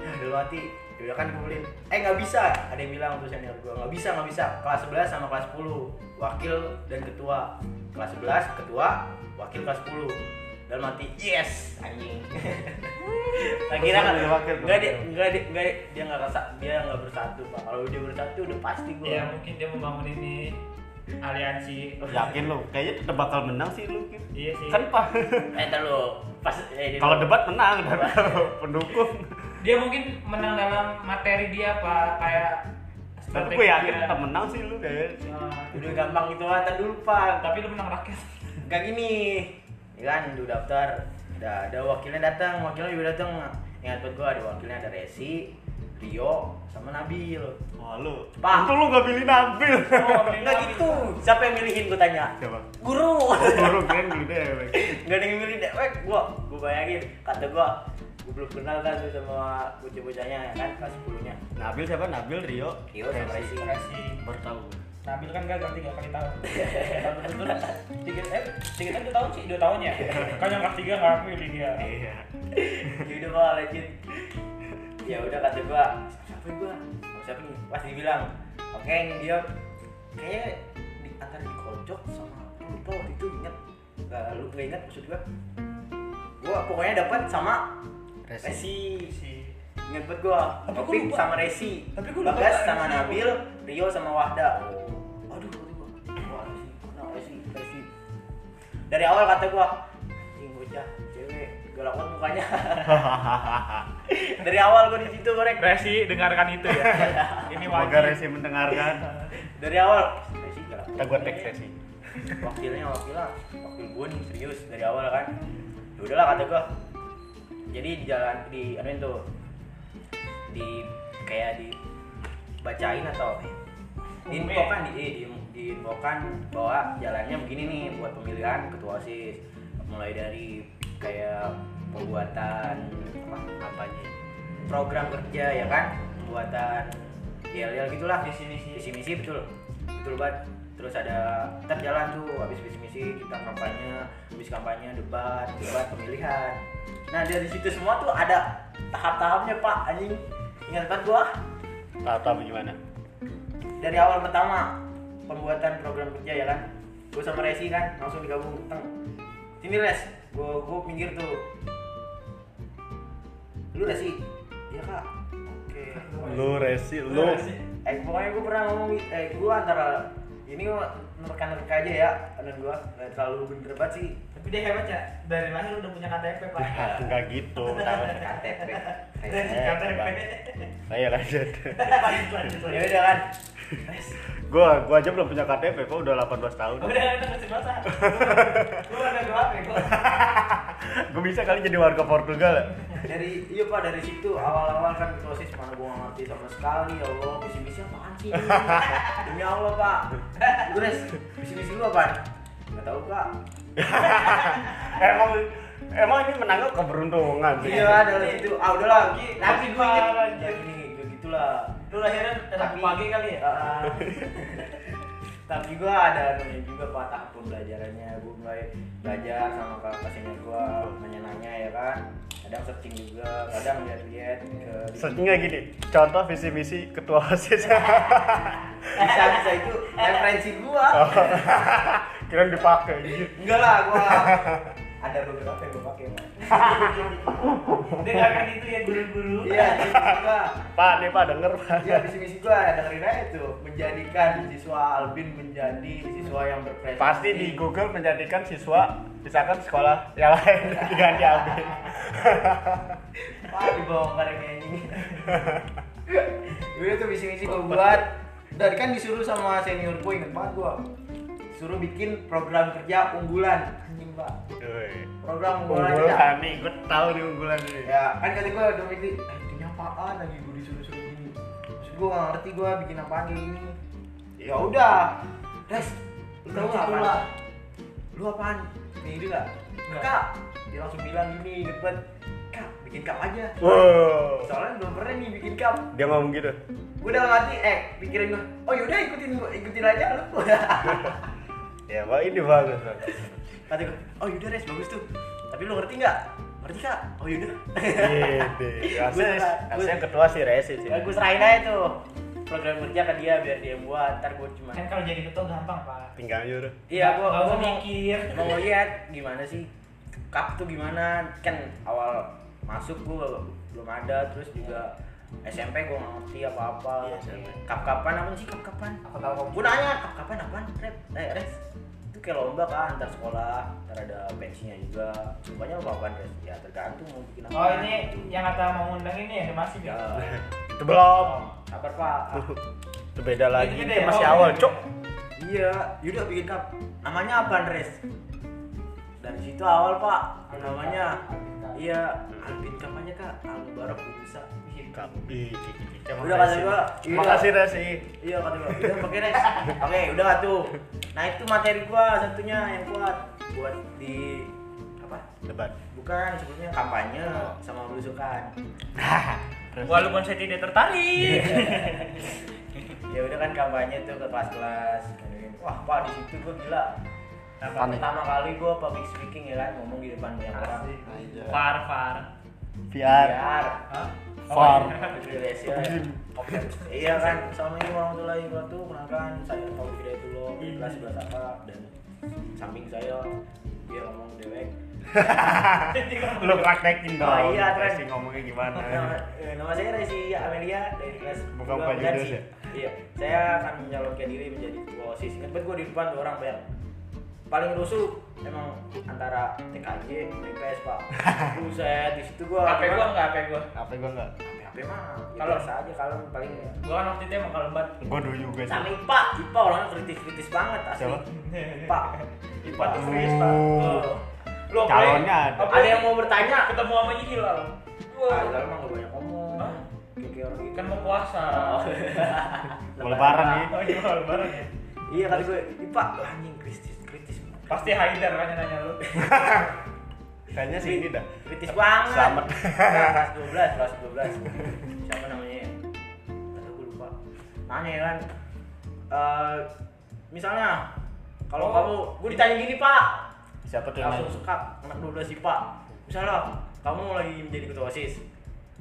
Ya, dalam hati. Yaudah kan gua beliin. Eh, nggak bisa. Ada yang bilang tuh senior gua, nggak bisa, nggak bisa. Kelas 11 sama kelas 10, wakil dan ketua. Kelas 11 ketua, wakil kelas 10. dalam hati yes [laughs] anjing nah kira nggak Jadi wakil tuh. nggak dia nggak dia nggak dia- dia nggak rasa dia nggak bersatu pak kalau dia bersatu udah pasti gue Iya, ya mungkin dia membangun ini aliansi Yakin lo, kayaknya tetap bakal menang sih lu. Kim. iya sih Kan pak, eh ntar lu pas eh, dia- kalau debat menang [laughs] dan kalau pendukung. dia mungkin menang dalam materi dia apa kayak Tapi gue yakin dia. tetap menang sih lu kayaknya. Nah, udah gampang gitu lah ntar dulu pak tapi lu menang rakyat Gak gini ya kan udah daftar udah ada wakilnya datang wakilnya juga datang ingat buat gue ada wakilnya ada Resi Rio sama Nabil Wah lu, Pak. itu lu gak pilih Nabil. [laughs] nggak gitu siapa yang milihin gue tanya Siapa? guru Burung kan gitu ya. Bang. nggak ada yang milih dewek gue gue bayangin kata gue gue belum kenal kan tuh sama bocah-bocahnya ya kan kelas 10 nya Nabil siapa? Nabil Rio. Rio sama Resi Resi Baru tahu gue. Nabil kan gak ganti tiga kali tahun tahun betul tiga eh tiga tahun dua tahun sih dua tahun ya kan yang kelas tiga nggak pilih dia [laughs] Iya. ya udah pak legit ya udah kata gue siapa gue sama siapa nih pas dibilang oke ini dia kayaknya di antara dikocok sama apa, lupa waktu itu inget nggak lu nggak inget maksud gue gue pokoknya dapat sama Resi. Resi, si inget buat gue Tapi gua Topik lupa. sama Resi Tapi gua lupa Bagas Resi. Oh. sama Nabil Rio sama Wahda aduh kata gua, wah Resi kena Resi Resi dari awal kata gua anjing bocah cewek galak banget mukanya [laughs] dari awal gua di situ korek Resi dengarkan itu ya ini Semoga wajib Resi mendengarkan. dari awal Resi galak Kita gue tag Resi. wakilnya wakilnya wakil gue nih serius dari awal kan ya udahlah kata gue jadi di jalan di anuin tuh di kayak dibacain atau apa ya? diinfokan di, eh, di, di- diinfokan bahwa jalannya begini nih buat pemilihan ketua osis mulai dari kayak pembuatan apa apanya program kerja ya kan pembuatan yel-yel gitulah di sini sih visi misi betul betul banget terus ada ntar jalan tuh habis visi misi kita kampanye habis kampanye debat debat pemilihan nah dari situ semua tuh ada tahap-tahapnya pak anjing ingat banget gua Tahu tahu gimana? dari awal pertama pembuatan program kerja ya kan gue sama Resi kan langsung digabung teng sini Res gue gue pinggir tuh lu Resi iya kak oke Lu Resi, lu. eh pokoknya gue pernah ngomong eh gue antara ini nerka-nerka aja ya dan gue nggak terlalu bener banget sih tapi dia hebat ya dari lahir udah punya KTP pak Enggak [laughs] gitu. Eh, KTP Ayo lanjut. ya udah kan Res Gua gua aja belum punya KTP, kok udah 18 tahun. udah itu masih [laughs] basah lu ada dua apa ya Gua bisa kali jadi warga Portugal. ya? dari iya pak dari situ awal-awal kan ketua osis mana gua nggak ngerti sama sekali ya allah misi misi apaan sih [laughs] ini? demi allah pak gue res misi misi lu apa nggak tahu kak Emang emang ini menanggap keberuntungan sih. iya lah dari situ ah udahlah nanti gue Parah, inget anjir. gini gini, gitulah lu lahirnya Tapi- [laughs] Ah, ah. tapi gue ada anunya juga pak tahap pembelajarannya gue mulai belajar sama kakak senior gue nanya-nanya ya kan kadang searching juga kadang lihat-lihat ke Searchingnya gini, contoh visi misi ketua [laughs] OSIS. bisa bisa itu referensi gua Kira dipakai gitu. enggak lah gua ada beberapa yang gua pakai Mas. dengarkan itu ya guru-guru iya misi gua Pak, nih Pak denger Pak. iya misi misi gua dengerin aja tuh menjadikan siswa Albin menjadi siswa yang berprestasi Pasti di Google menjadikan siswa misalkan sekolah yang lain [laughs] diganti ambil. wah dibongkar yang kayak gini Yaudah tuh misi misi gua buat dari kan disuruh sama senior gua inget banget gua suruh bikin program kerja unggulan anjing pak program unggulan, Unggulan nih, gue tahu nih unggulan nih. ya kan kata gue dong ini eh, ini apaan lagi gue disuruh suruh gini maksud gue gak ngerti gue bikin apaan kayak gini ya udah res lu tau gak apaan lu apaan ini ide gak Enggak. kak dia langsung bilang gini depan kak bikin cup aja Wow. soalnya belum pernah nih bikin cup Dia ngomong gitu. gue udah ngerti eh pikirin gue oh yaudah ikutin gua- ikutin aja lu [laughs] Ya, wah ini bagus. Pak. kata gue oh yaudah res bagus tuh tapi lu ngerti nggak ngerti kak oh [laughs] yaudah Gitu. Rasanya, rasanya ketua sih resi sih. Ya gue serahin aja tuh program kerja ke dia biar dia yang buat ntar gue cuma kan kalau jadi ketua gampang pak Tinggal nyuruh. iya gue Nggak gue usah mikir mau lihat gimana sih cup tuh gimana kan awal masuk gua belum ada terus juga SMP gua nggak ngerti apa apa Iya, SMP. cup kapan apa sih cup kapan Aku tahu kamu. gua nanya cup kapan apaan rep eh res itu kayak lomba kan antar sekolah ntar ada pensinya juga pokoknya lomba apaan res ya tergantung mau bikin apa gitu. Oh ini yang kata mau ngundang ini ya masih Oh. ya ya. Itu belum. sabar pak [laughs] Itu beda lagi. Ini Itu deh, masih oh, awal, ini. Cok. Iya, Yuda bikin cup. Namanya apa, Andres? Dari situ awal, Pak. Namanya Iya, Alvin cup aja, Kak. Al Mubarak bisa. Kap. Ih, cik, cik, cik. Udah, kasih gua. Iya. Makasih Resi. Iya, kata gua. Udah pakai Res. Oke, udah lah tuh. Nah, itu materi gua satunya yang kuat buat di apa? Debat. Bukan sebelumnya kampanye sama belusukan. Walaupun saya tidak tertarik. [laughs] Ya udah kan kampanye tuh ke kelas-kelas. Wah, Pak, di situ gua gila. Nah, Panik. pertama kali gua public speaking ya kan ngomong di depan banyak orang. Iya. Far, far. VR. Biar Hah? Far. Indonesia. ya. iya kan assalamualaikum warahmatullahi wabarakatuh perkenalkan saya Pak Hidayatullah kelas 11 apa dan samping saya dia ngomong dewek Lu praktekin dong. Oh, iya, Ren. Resi ngomongnya gimana. [laughs] nama, eh, nama saya Resi Amelia dari kelas Bukan dua Pak Bekasi. Julius ya? iya saya akan mencalonkan diri menjadi ketua osis ingat banget gue di depan dua orang banyak paling rusuh emang antara TKJ dan IPS pak [laughs] buset di situ gue HP gua enggak HP gua. Apa gua enggak? HP mah Kalau- kalau aja kalau paling Gua kan waktu itu emang kalembat. Gua dulu juga sih. sama IPA IPA orangnya kritis-kritis banget asli Siapa? IPA Ipa tuh serius, Pak. Oh. Oh. Lu apa- Calonnya ada. apa- ada yang mau bertanya ketemu sama Hilal. Wah, ah lalu mah gak banyak ngomong Hah? kayak kayak orang gitu. kan mau puasa. [laughs] Oh. ya. Mau lebaran nih. Oh iya, lebaran ya. iya kata gue IPA wah, anjing kritis kritis Pasti Haidar kan yang nanya lu. Kayaknya sih ini dah. kritis banget Selamat. Nah, kelas 12 kelas 12 siapa namanya ya Aduh, gue lupa nanya ya kan Eh, misalnya kalau Oh. kamu gue ditanya gini pak Siapa tuh yang langsung suka anak 12 IPA misalnya kamu lagi menjadi ketua osis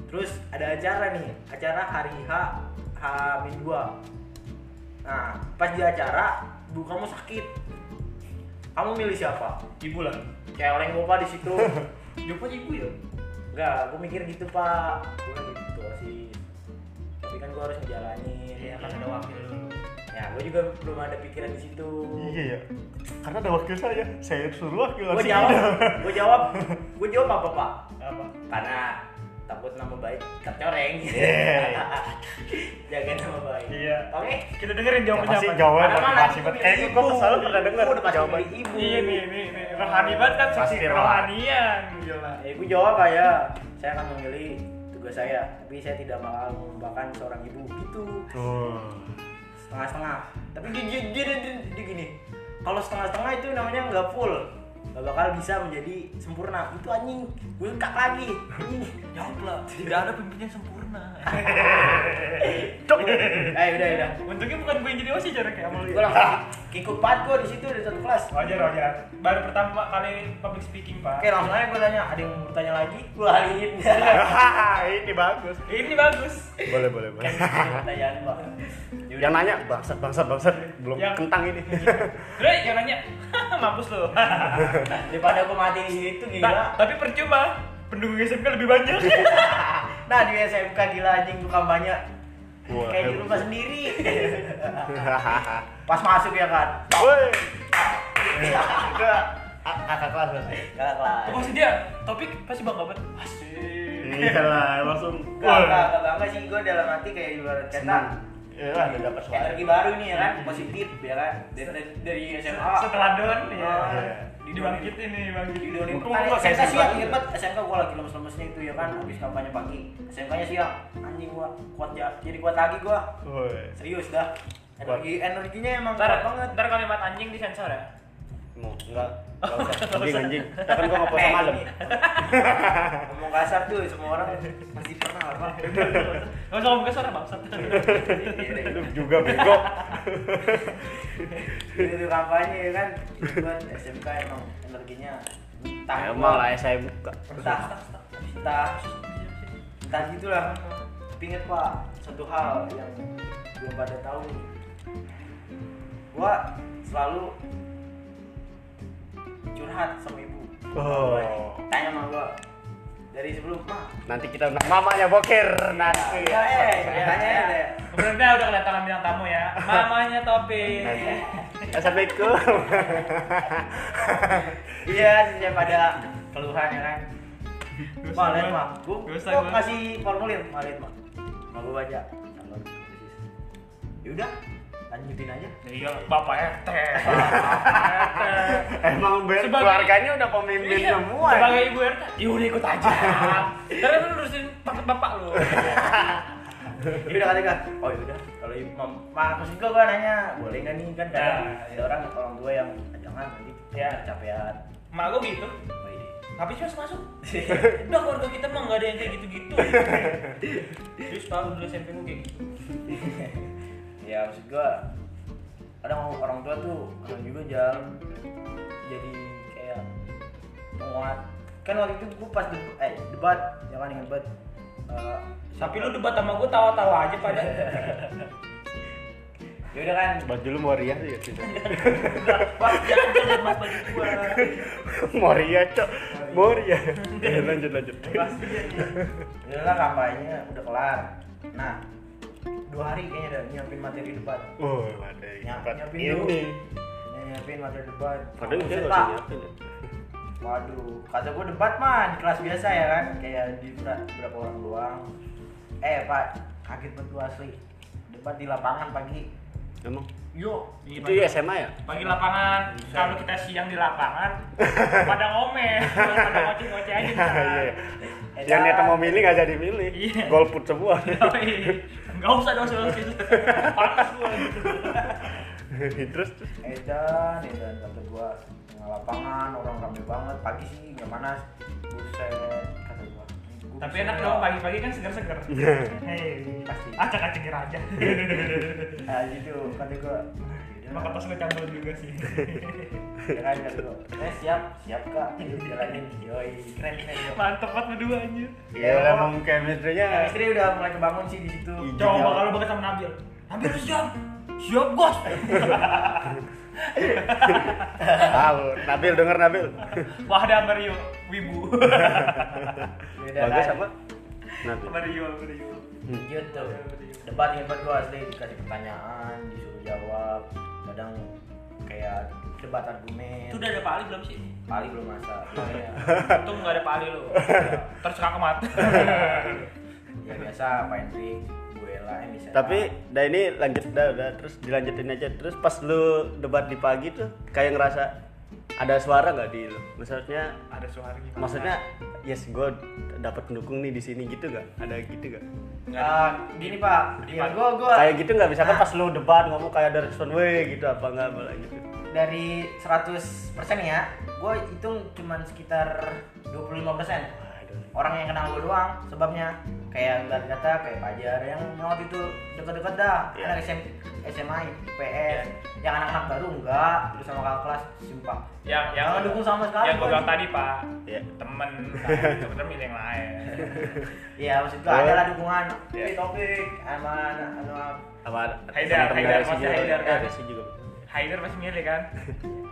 terus ada acara nih acara hari H H-2 nah pas di acara ibu kamu sakit kamu milih siapa Ibu lah. celeng gue pak di situ Jumpa ibu ya. enggak gue mikir gitu pak gue lagi ketua osis tapi kan gue harus ngejalanin Iya, kan ada wakil lu. ya gue juga belum ada pikiran di situ Iya ya. Karena ada wakil saya. Saya suruh wakil gue Resi. jawab gue jawab gue jawab apa pak Apa? karena takut nama baik kecoreng Yeay. [laughs] jaga nama baik Iya. Oh, oke Kita dengerin Ya, jawabannya pasti apa. jawaban Padahal pasti banget. anak eh, itu Kayaknya milih gua ibu. selalu pernah dengar Ibu udah pasti jawaban. milih ibu Iya nih, nih, nih. Rohani banget kan Pasti sosok rohani. rohanian. Gila. ya, gue jawab pak ya saya akan memilih tugas saya tapi saya tidak bakal melupakan seorang ibu gitu [laughs] Tuh. [laughs] setengah-setengah tapi dia, dia, dia, dia- dia gini kalau setengah-setengah itu namanya nggak full nggak bakal bisa menjadi sempurna itu anjing gue kak lagi [laughs] anjing Jawab lah. Ya Tidak ada pemimpin yang sempurna. eh udah udah Untungnya bukan gue yang jadi osis jaraknya sama lu. ya. gue langsung kikuk banget gue di situ di satu kelas Wajar, wajar. Baru pertama kali public speaking, Pak. Oke langsung aja gue tanya, ada yang mau bertanya lagi? Gue lariin ini bagus. Ini bagus. Boleh, boleh, boleh. [laughs] Pertanyaan pak Yang nanya bangsat bangsat bangsat belum Yang- kentang [laughs] ini. Dre, yang nanya, [laughs] mampus lu. Daripada gue mati di situ Ta- gila tapi percuma, pendukung SMK lebih banyak. Nah di SMK gila anjing gue kampanye Wah, eh, Kayak di hebat. rumah sendiri Pas masuk ya kan Woi. Udah a- kakak kelas berarti. Gak kelas Pasti dia, Oh, topik pasti bangga banget. Asik. Iya lah, langsung. Gak, gak, gak bangga sih gue dalam hati kayak ibarat kata Iya lah, udah dapat suara. Energi baru nih ya kan, positif ya kan Dari, dari SMA Setelah don, Oh, ya. Ah. Iya. Dibangkitin nih, dibangkitin. Video ini Hukum kan gua kayak SMK siang, sih, inget banget SMK gua lagi lemes-lemesnya itu ya kan Habis kampanye pagi, SMK-nya siang Anjing gua kuat ya, jadi kuat lagi gua Woi. Serius dah Energi, energinya emang Ntar, kuat banget ntar kalimat anjing disensor ya. Mau enggak? Enggak usah. Anjing anjing. Kita kan gua nggak puasa Eh, malam. Nah, Ngomong kasar tuh semua orang pasti pernah lah Pak. Gak usah ngomong kasar, bangsat. Iya deh. Lu juga bego. Itu tuh kampanye ya kan Cuman SMK emang energinya Entah Emang lah ya. saya buka. Entah Entah Entah gitulah Tapi inget pak Satu hal yang belum pada tahu nih Gua selalu curhat sama ibu Oh. Tanya sama gua dari sebelum mah. Nanti kita undang mamanya boker nanti. Ya, eh, tanya ya. deh. Kemudian udah kelihatan bintang tamu ya. Mamanya Topi. Assalamualaikum. Iya, setiap ada keluhan ya kan. Mak, lihat mak, gua, Dosa gua gua. kasih formulir, mak lihat mak, mau gua baca. Calon khusus. Yaudah, lanjutin aja. Iya, Bapak RT. Bapak RT. Emang ber- Sebagai- keluarganya udah pemimpin Iya, semua. Sebagai ibu RT, yaudah ikut [laughs] aja. Terus lu lurusin paket bapak lu. Yaudah kata gua, oh yaudah, kalau ibu mam, mak maksud gua gua nanya, boleh nggak nih kan kadang Nah, ada orang orang tua yang "Ah, jangan nanti [laughs] Ya. capean. Mak gua gitu. Oh, ini. [laughs] Tapi sih masuk. Udah keluarga kita mah nggak ada yang kayak gitu-gitu. Terus kalau dulu SMP gua kayak gitu. ya maksud gua kadang orang- orang tua tuh kadang juga jalan jadi kayak penguat kan waktu itu gua pas debat eh debat jangan ingat debat Eh, Tapi lu debat sama gua tawa-tawa aja pada. ya udah kan Baju lu moriah tuh ya tidak. Wah, jangan jangan mas bagi gua. [laughs] moriah cok. [laughs] Moriah. Ya, lanjut lanjut. udah lah kampanye udah kelar nah dua hari kayaknya udah nyiapin materi debat Oh, ada Nyap- tempat nyiapin dulu. ini. nyiapin materi debat Padahal dia Buset, nggak Pak. usah nyiapin ya. Waduh, kata gue debat mah di kelas biasa ya kan, kayak di ber- berapa orang doang. Eh pak, kaget banget gue asli. Debat di lapangan pagi. Emang Yuk, itu ya SMA ya? Pagi lapangan, kalau kita siang di lapangan, pada ngomel, pada ngoceh-ngoceh [laughs] aja. Iya. iya. Eh, Yang niatnya dah. mau milih nggak jadi milih. Iya. Golput semua. [laughs] Enggak usah dong soal itu. Pantas gua gitu. Terus terus. Eh, Edan, edan ya kata gue nggak lapangan, orang ramai banget. Pagi sih nggak panas. Buset, kata gue. Tapi enak dong pagi-pagi kan seger-seger. Iya. Hei, Pasti. acak-acakir aja. Nah gitu, kata gue. Emang kertas gue cabul juga sih. Ya kan kata gue. Eh siap, siap kak. Yuk jalanin. Yoi, keren keren. yuk. Mantep banget berdua aja. Ya emang chemistry-nya Chemistry udah mulai kebangun sih di situ. Iya. Coba kalau bakal sama Nabil. Nabil lu siap. Siap, Bos. tahu. Nabil denger Nabil. Wah, ada sama Rio. Wibu. Beda Bagus kan? sama Nabil. Sama Rio, sama Rio. gitu debat debat gue asli dikasih pertanyaan disuruh jawab kadang kayak debat argumen Itu udah ada Pak Ali belum sih? kali belum [laughs] masak ya, Untung nggak ada Pak Ali lu. Terserang ke mata. ya biasa main drink gue lah yang bisa Tapi dah ini lanjut dah udah terus dilanjutin aja terus pas lu debat di pagi tuh kayak ngerasa ada suara nggak di lu? Maksudnya Ada suara gimana? maksudnya yes gue dapat pendukung nih di sini gitu gak? Ada gitu gak? Ah, gini pak ya gue gue Kayak gitu nggak bisa kan Nah. pas lu debat ngomong kayak ada respon weh gitu apa nggak malah gitu? dari 100 ya gue hitung cuman sekitar 25 orang yang kenal gue doang sebabnya kayak ibarat kata kayak Pajar yang waktu itu deket-deket dah Kan Iya. anak SM, SMA IPS yang anak-anak baru enggak terus sama kakak kelas simpang Ya, Yang yang Nggak dukung sama sekali, Yang gue Pak. bilang tadi, Pak. Iya. [laughs] Temen, temen milih yang lain. Ya. iya maksud gue Oh. ada lah dukungan Iya. Ini topik sama anak- anak Apa Haidar, temen-temen Haidar, Naresi masih juga? Haidar, Eh, kan? Naresi juga. Haider pasti milih kan?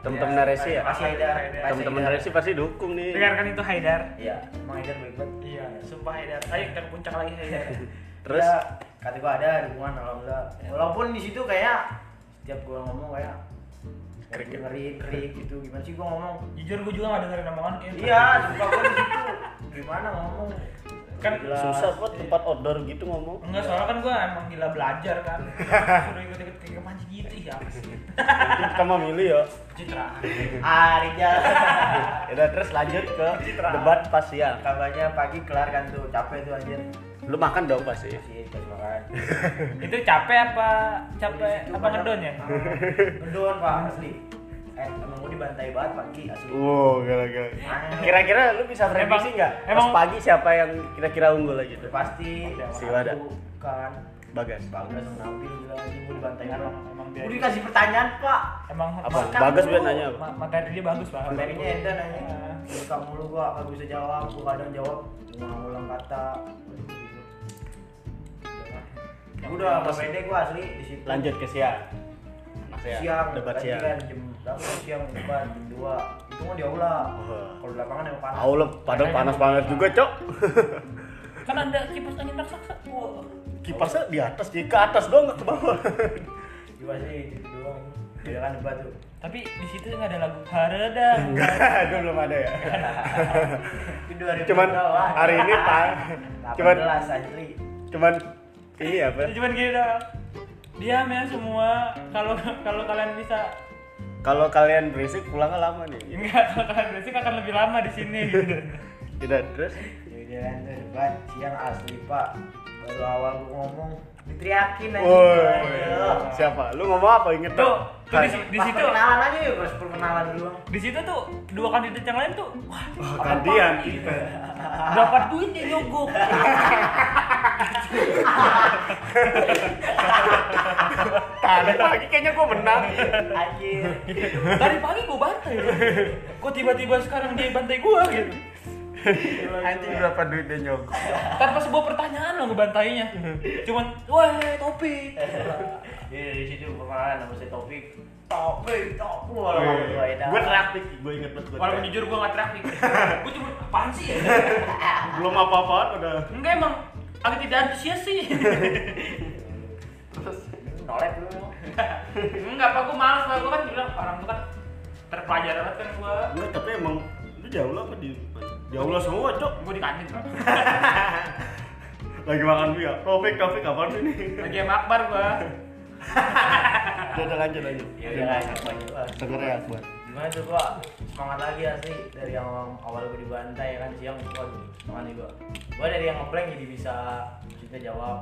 Temen-temen Iya, Naresi ya? masih ada Temen-temen masih Temen-temen ada. Naresi pasti dukung nih. Dengarkan itu Haidar. iya emang Haidar baik banget Iya, sumpah Haidar. Ayo kita ke puncak lagi Haidar. Terus Iya. ya, kata gua ada dukungan alhamdulillah walaupun di situ kayak setiap gua ngomong kayak Krik ya? ngeri krik gitu gimana sih gua [laughs] ngomong [laughs] Jujur gue juga gak dengerin kan, omongan lu kayaknya. iya suka gua di situ gimana ngomong Kan Jelas. susah kok tempat outdoor gitu ngomong. Enggak, soalnya kan gue emang gila belajar [laughs] kan. Suruh ikut-ikut kayak kemanci gitu ya apa sih? Nanti kita mau milih ya. Citraan. ah Rijal Ya udah, terus lanjut ke Citra. debat pas siang. [laughs] kabarnya pagi kelar kan tuh capek tuh anjir Lu makan dong pasti. masih terus makan Itu capek apa capek Di situ apa banyak- ngedon ya? Ah, ngedon pak asli eh emang gua dibantai banget pagi asli Wow, gila-gila. Ah, Kira-kira lu bisa prediksi Emang- nggak? Pas emang- pagi siapa yang kira-kira unggul aja tuh? pasti Si Wada. kan Bagas. bagus nampil gila anjing gua dibantai Emang banget. Iya, emang dia. Udah dikasih pertanyaan pak Emang Apa? Makan Bagas dulu. gue nanya apa? Ma- Materi dia bagus banget. Materinya Enda nanya Suka mulu gua gak bisa jawab Gua kadang jawab Ngulang-ulang kata Ya udah gak pede gua asli di situ Lanjut ke siang. Anak Ya, siang debat berarti siang. kan jam berapa siang debat jam dua itu kan di aula Oh. kalau di lapangan emang panas Allah, padahal panas banget juga, Cok. Kan ada kipas angin raksasa. Wah. Kipasnya di atas, jadi ke atas doang nggak ke bawah. [laughs] juga sih itu doang beda kan debat tuh [laughs] Tapi di situ nggak ada lagu Harada. Enggak, dulu belum ada ya. itu dua ribu Cuman hari ini Pak. [laughs] Cuman belas asli cuman iya, ini apa? Cuman gini doang. Diam ya semua. Kalau kalau kalian bisa Kalau kalian berisik pulangnya lama nih. enggak kalau kalian berisik akan lebih lama di sini gitu. Tidak terus jadi kan tuh debat siang asli pak baru awal gua ngomong diteriakin aja Woi, Aduh. siapa? Lu ngomong apa inget Tuh, tak? tuh di, Hai. di Pas situ perkenalan aja ya pas perkenalan [laughs] dulu di situ tuh dua kandidat yang lain tuh wah Oh, gantian kita. dapat duit dia nyogok Tadi pagi kayaknya gua menang. anjir dari pagi gue bantai kok tiba-tiba sekarang dia bantai gue gitu Anjing berapa duit dia nyogok? tanpa sebuah pertanyaan loh ngebantainya cuman wah topi ya dari situ perkenalan sama si Topik Topik Topik walau ngomong dua edan Gue traktik, gue inget banget. gua walaupun traktik. jujur gue gak traffic gue cuma apaan sih ya belum apa-apaan udah. enggak emang agak tidak antusias sih nolep dulu enggak apa gue males lah gue kan bilang orang tuh kan terpelajar banget kan gue Enggak, tapi emang lu jauh lah apa di jauh lah semua, Cok. gue di kantin Bro. Lagi makan mie ya? Topik, topik apaan sih ini? lagi sama akbar gue Iya, Udah lanjut lanjut. ya udah lah enak banget Pak. Dengar ya, Akbar. gimana tuh gua semangat lagi asli dari yang awal gua dibantai ya kan siang gua semangat nih gua gua dari yang ngeblank jadi bisa kita jawab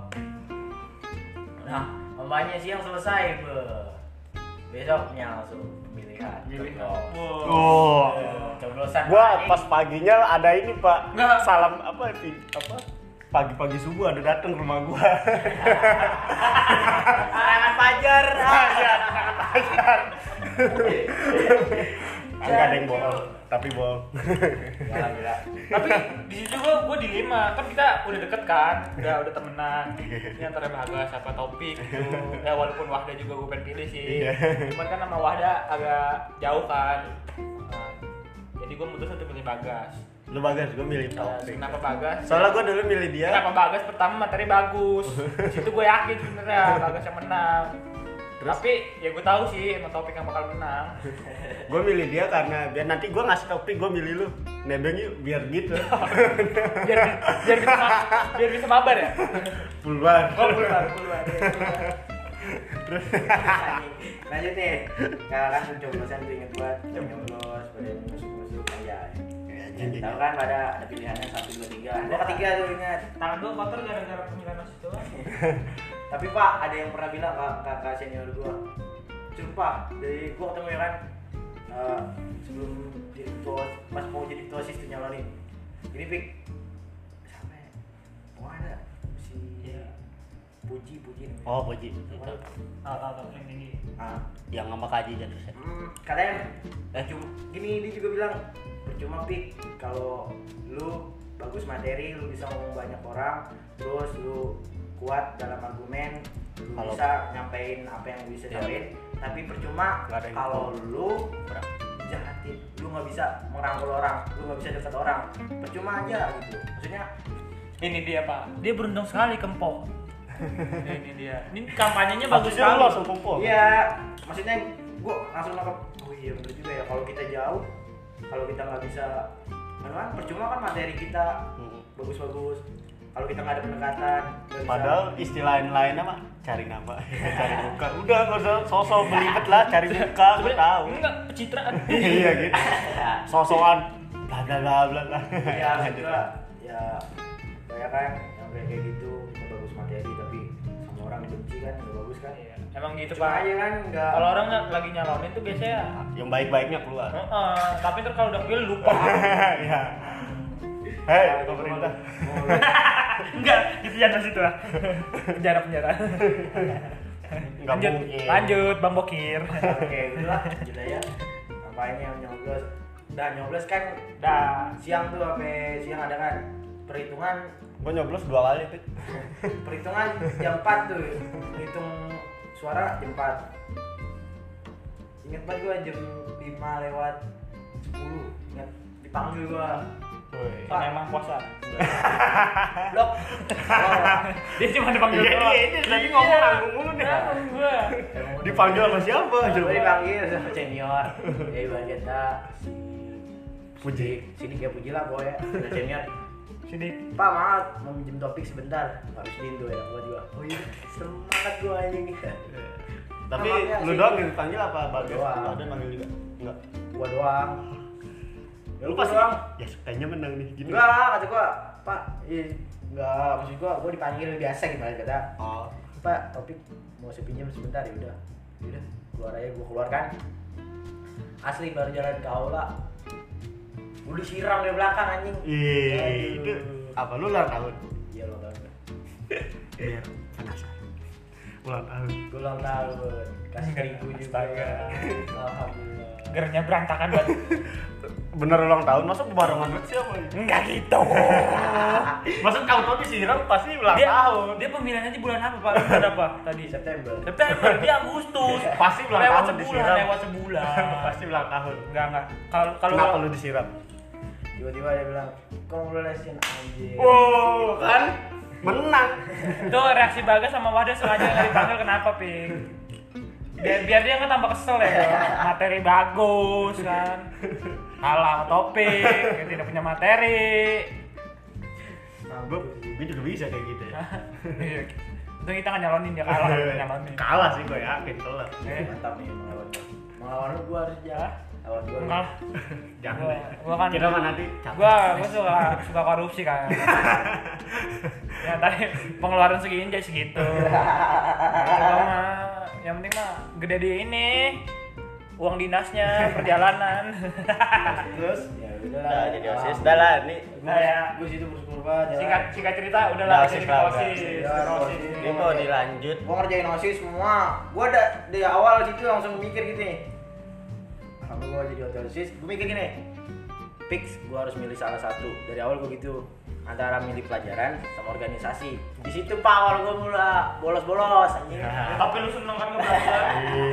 nah kampanye siang selesai be besoknya langsung pemilihan coblos Oh. coblosan Gua anjing. pas paginya ada ini, Pak. Enggak. Salam apa vi- apa? Pagi-pagi subuh ada datang ke rumah gua. serangan pajar [laughs] Iya, [laughs] Enggak ada yang bohong, tapi bohong. gila gila tapi di situ gue gue dilema kan kita udah deket kan udah udah temenan ini antara Bagas sama Topik gitu ya walaupun Wahda juga gue pengen pilih sih Iya. cuman kan sama Wahda agak jauh kan Nah, jadi gue mutus untuk pilih Bagas Lu bagas, gua milih Nah, topik. kenapa Bagas Soalnya gua dulu milih dia. kenapa Bagas pertama materi [laughs] bagus di situ gue yakin sebenarnya Bagas yang menang tapi ya gue tahu sih emang Topik yang bakal menang [laughs] Gua milih dia karena biar nanti gua ngasih topik, gua milih lu. Nebeng yuk, biar gitu. biar biar bisa ma- biar bisa mabar ya Puluhan. oh, puluhan, puluhan, puluhan. lanjut nih kalau kan coblosan tuh inget buat coblos pada nusuk nusuk aja tahu kan pada ada pilihannya satu dua tiga ada ketiga tuh ingat tangan gue kotor gara-gara pemilihan nasi doang tapi pak ada yang pernah bilang ke kakak senior gua "Cuk, pak dari gua ketemu ya kan eh, sebelum jadi ketua pas mau jadi ketua sis tuh nyalonin ini pik siapa ya mau ada si puji puji namanya. Oh, Boji. Namanya. Tahu tahu tahu yang ini. ah Yang sama Kaji jadi set. Hmm, katanya Eh, percuma gini dia juga bilang percuma pik kalau lu bagus materi lu bisa ngomong banyak orang terus lu kuat dalam argumen lu Kalau- bisa nyampein apa yang lu bisa Iya. nyampein tapi percuma Nggak ada yang kalau lu jahatin lu nggak bisa merangkul orang lu nggak bisa deket orang percuma aja gitu maksudnya Ini dia pak. Dia beruntung sekali kempok. ini dia. [laughs] Ini kampanyenya bagus Bagusnya lu sekali. langsung kumpul. iya maksudnya gua langsung nangkep oh iya bener juga ya kalau kita jauh kalau kita nggak bisa kan kan percuma kan materi kita Hmm. bagus-bagus kalau kita nggak ada pendekatan nggak bisa- Padahal istilah yang lainnya mah cari nama, [laughs] cari muka. Udah nggak usah sosok belibet lah, cari muka. Gue Sebenarnya- tahu. Enggak [laughs] pencitraan. [laughs] iya gitu. Sosokan bla bla bla bla. bla. ya juga ya kayak kan yang kayak kayak gitu kita bagus materi tapi sama orang dibenci kan nggak bagus kan Iya. Emang gitu cuma pak. aja kan nggak Kalau orang nggak lagi nyalonin tuh biasanya. Yang baik-baiknya keluar. Heeh, tapi ntar kalau udah pilih lupa. [laughs] [laughs] Iya. Hei, Nah, pemerintah. [laughs] Enggak, dipenjara situ lah. [laughs] Penjara penjara. Enggak Lanjut, mungkin. lanjut Bang Bokir. oke udah gitu ya ngapain yang nyoblos dan nyoblos kan Dah. siang tuh sampai siang ada kan perhitungan Gue nyoblos dua kali, Pit. perhitungan jam 4 tuh hitung suara jam 4 inget banget gua jam 5 lewat 10 inget dipanggil gua Iya, Karena emang puasa. blok Dia cuma dipanggil Iya, doang. iya, iya. Tadi ngomong nanggung mulu nih. Nanggung gua. [laughs] Dipanggil sama siapa? Gua Coba. dipanggil sama senior ya ibarat kata si Puji. sini kayak puji lah pokoknya sama senior Sini. Pak maaf mau minjem topik sebentar nggak bisa tuh ya buat gua oh iya semangat gua anjing Tapi Namanya lu sih. doang yang dipanggil apa Bagas? Doang. Lu ada yang manggil juga? Enggak. [laughs] gua doang Lu gua pasti doang. ya kayaknya menang nih gini. enggak lah kata gua pak iya enggak maksud gua gua dipanggil biasa gimana kata Oh. pak topik mau saya pinjam sebentar ya udah Ya udah keluar aja gua keluarkan asli baru jalan ke aula udah siram dari belakang anjing Iya, itu Aduh. apa lu ulang tahun? iya lo kan Biar penasaran. Ulang tahun. gua ulang tahun kasih keriku juga Astaga. alhamdulillah Gernya berantakan banget. Bener ulang tahun, masa barengan banget siapa? Enggak gitu. [laughs] Masa kau tahu disiram pasti ulang Dia tahun. dia pemilihannya di bulan apa, Pak? Lu Bulan apa tadi? September September, dia Agustus. Pasti ulang lewat tahun sebulan, disiram. lewat sebulan. [laughs] Pasti ulang tahun. Enggak, enggak. Kalau Nah. kalau Kenapa lu disiram? tiba-tiba dia bilang congratulations anjing Wow, kan menang. itu reaksi Bagas sama Wahda sengaja nggak dipanggil kenapa, Ping? Biar, biar dia nggak tambah kesel ya. Materi bagus kan. Kalah topik, yang tidak punya materi. Gue gue juga bisa kayak gitu ya. Untung Iya. kita nggak nyalonin dia [laughs] [laughs] kalah, nggak nyalonin. Kalah sih gue yakin telat. [laughs] Eh, mantap nih melawan gua. melawan lu gua harus jalan lawan gua lu. kalah. Jangan. Gua- deh. gua kan- Kira mah nanti capek. Gua, gua suka suka korupsi [laughs] kan. ya tadi pengeluaran segini jadi segitu. Kalau mah, yang penting mah gede di ini uang dinasnya [laughs] perjalanan. terus ya udah lah udah Nah, jadi osis. Udah lah, ini Nah ya, gue situ bersyukur banget. singkat singkat cerita Udah, udahlah osis jadi lah, udah. osis. jadi osis. ini mau dilanjut. Gue ngerjain osis semua. Gue ada dari awal situ langsung mikir gitu nih. Kalau gue jadi hotel osis, gue mikir gini. Fix, gue harus milih salah satu. Dari awal gue gitu antara milih pelajaran sama organisasi. Di situ pak awal gue mulai bolos-bolos anjing. [laughs] Nah. Ya, tapi lu seneng kan ngebelajar.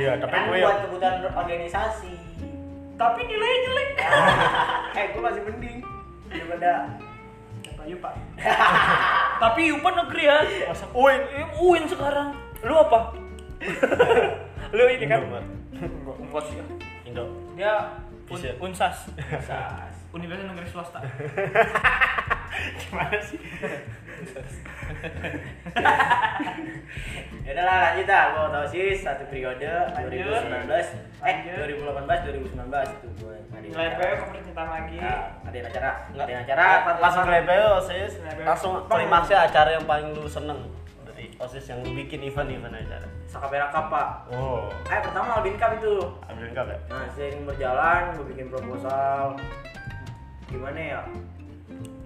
Iya, tapi Kan gue buat kebutuhan organisasi. tapi nilainya jelek. eh, gue masih mending daripada Ayo pak. tapi Yupan negeri ya. Uin. Eh, Uin sekarang. Lu [laughs] apa? lu ini kan. Indomaret. Enggak, enggak sih. Indo. Dia un, Fisip. [laughs] unsas. Universitas Negeri Swasta. Gimana sih? Ya udah lah lanjut dah, gua tau sih satu periode Lanjut. 2019 eh 2018 2019 Lanjut. itu gua ngadain Nilai PO acara. ke percintaan lagi. Nah, ngadain acara, ngadain acara langsung ke LPO osis. LPO. Langsung klimaksnya acara yang paling lu seneng dari osis yang lu bikin event-event acara. Sakapera Cup, Pak. Oh, Eh pertama Albin Cup itu. ambil enggak ya? Nah, sering berjalan gua bikin proposal. Gimana ya?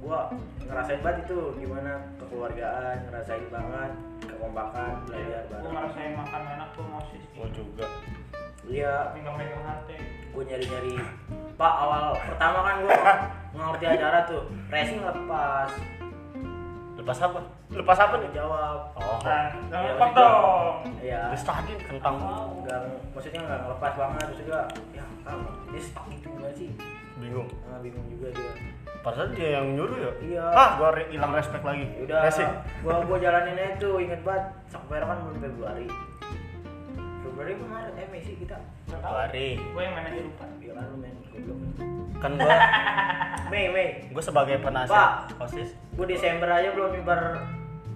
Gua ngerasain banget itu gimana kekeluargaan, ngerasain banget kekompakan, belajar Gue bareng. ngerasain makan enak tuh mosis. Gua juga. Iya, Megang-megang hati. gue nyari nyari pak awal pertama kan gue ngerti acara tuh racing lepas Lepas apa? Lepas apa nih? jawab Oh. Nah, jangan Iya, lupa gitu. dong. ya Terus tadi kentang nggak maksudnya nggak ngelepas banget terus juga ya kamu ini stuck gitu gak sih bingung. nggak bingung juga dia Padahal dia yang nyuruh ya. Iya. Ah, gua re- hilang respect lagi. yaudah Racing. gue gue jalanin aja tuh inget banget sakpera kan bulan Februari Februari kemarin eh Mei sih kita Februari. Gue yang mana lupa. ya kan lu main goblok Kan gua Mei Mei gua sebagai penasehat Pak. osis. gue Desember aja belum nyebar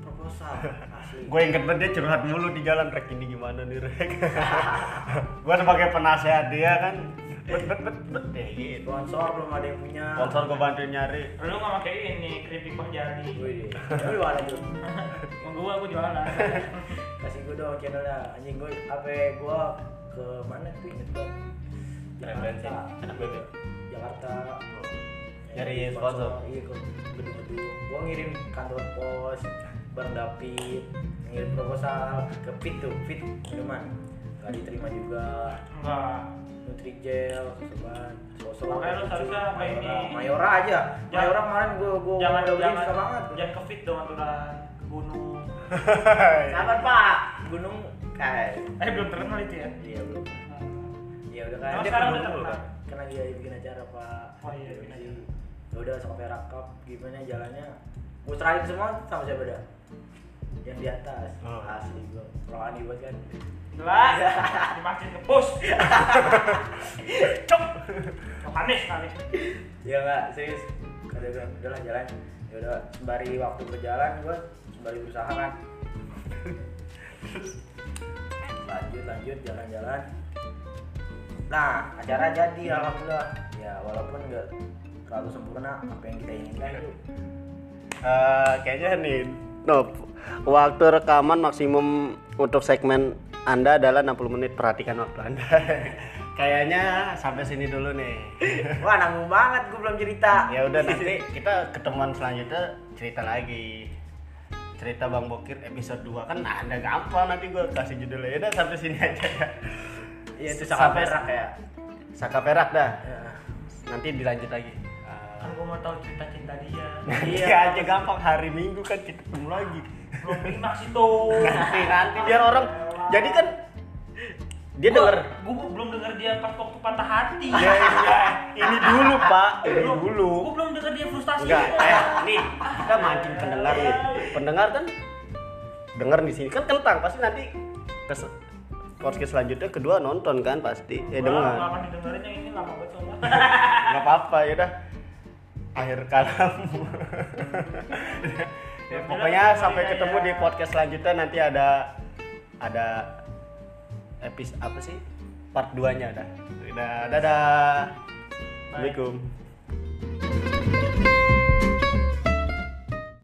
proposal asli Gue inget banget dia curhat mulu di jalan rek ini gimana nih rek. [laughs] gue sebagai penasehat dia kan bet bet bet bet deh gitu. sponsor belum ada yang punya Sponsor gue bantuin [laughs] nyari. Lu nggak pakai ini keripik kok jadi. Wih, lu ada tuh. Mau gua gua [laughs] jualan. Kasih gue dong channelnya. Anjing gue apa gue ke mana tuh inget gue. Bensin. Jakarta. Enak ya? banget. Jakarta. Nyari Iya, sponsor. Iya ke gedung-gedung. Gue ngirim kantor pos, bareng David, ngirim proposal ke Fit tuh, Fit minuman. Gak diterima juga. Enggak. Nutrigel, susuban, sosok. Makanya lu seharusnya apa ini? Mayora. Mayora aja. Jangan- Mayora kemarin gue gue Jangan jangan susah Oh, banget. jangan ke fit dong aturan ke gunung. Sabar Pak, Eh, gunung kayak Eh belum terkenal itu ya. Iya belum. Ya Iya udah Emang kan. sekarang udah dulu terkenal? kan. Karena dia bikin acara Pak. Oh, iya, bikin Jadi, acara. Ya udah sama Perak Cup gimana jalannya? Musrahin semua sama siapa dah? Yang di atas. Oh. Asli gua. Rohani banget kan. Jelas. Dimasukin ke pos. Cok. Yohanes kali. Iya enggak, serius. Ada bilang udahlah jalan. Ya udah sembari waktu berjalan gua sembari berusaha kan. lanjut lanjut jalan-jalan. Nah, acara jadi alhamdulillah. Ya walaupun enggak terlalu sempurna apa yang kita inginkan tuh. Eh, kayaknya nih Nop, waktu rekaman maksimum untuk segmen Anda adalah 60 menit perhatikan waktu Anda [laughs] kayaknya sampai sini dulu nih Wah nanggung banget gue belum cerita. ya udah nanti kita ketemuan selanjutnya cerita lagi cerita Bang Bokir episode 2 kan Anda gampang nanti gue kasih judulnya ya udah sampai sini aja Iya itu sangat Sampai- perak ya. Iya. Saka Perak dah nanti dilanjut lagi Eh, Aku Kan mau tahu cerita cinta dia. nanti Iya. aja gampang hari Minggu kan kita ketemu lagi Belum klimaks itu. [laughs] nanti nanti biar orang jadi kan dia denger Gue belum denger dia pas waktu patah hati. Iya, ya, ya, [laughs] ini dulu pak ini Belum. dulu Gue belum denger dia frustasi. gitu. enggak eh nih kita mancing pendengar nih pendengar kan dengar di sini kan kentang pasti nanti kes podcast selanjutnya kedua nonton kan pasti eh Wah, Lama dengar didengerin yang ini lama betul. nggak apa-apa ya udah akhir kalamu ya, pokoknya sampai ketemu di podcast selanjutnya nanti ada ada episode apa sih part 2 nya dah dadah assalamualaikum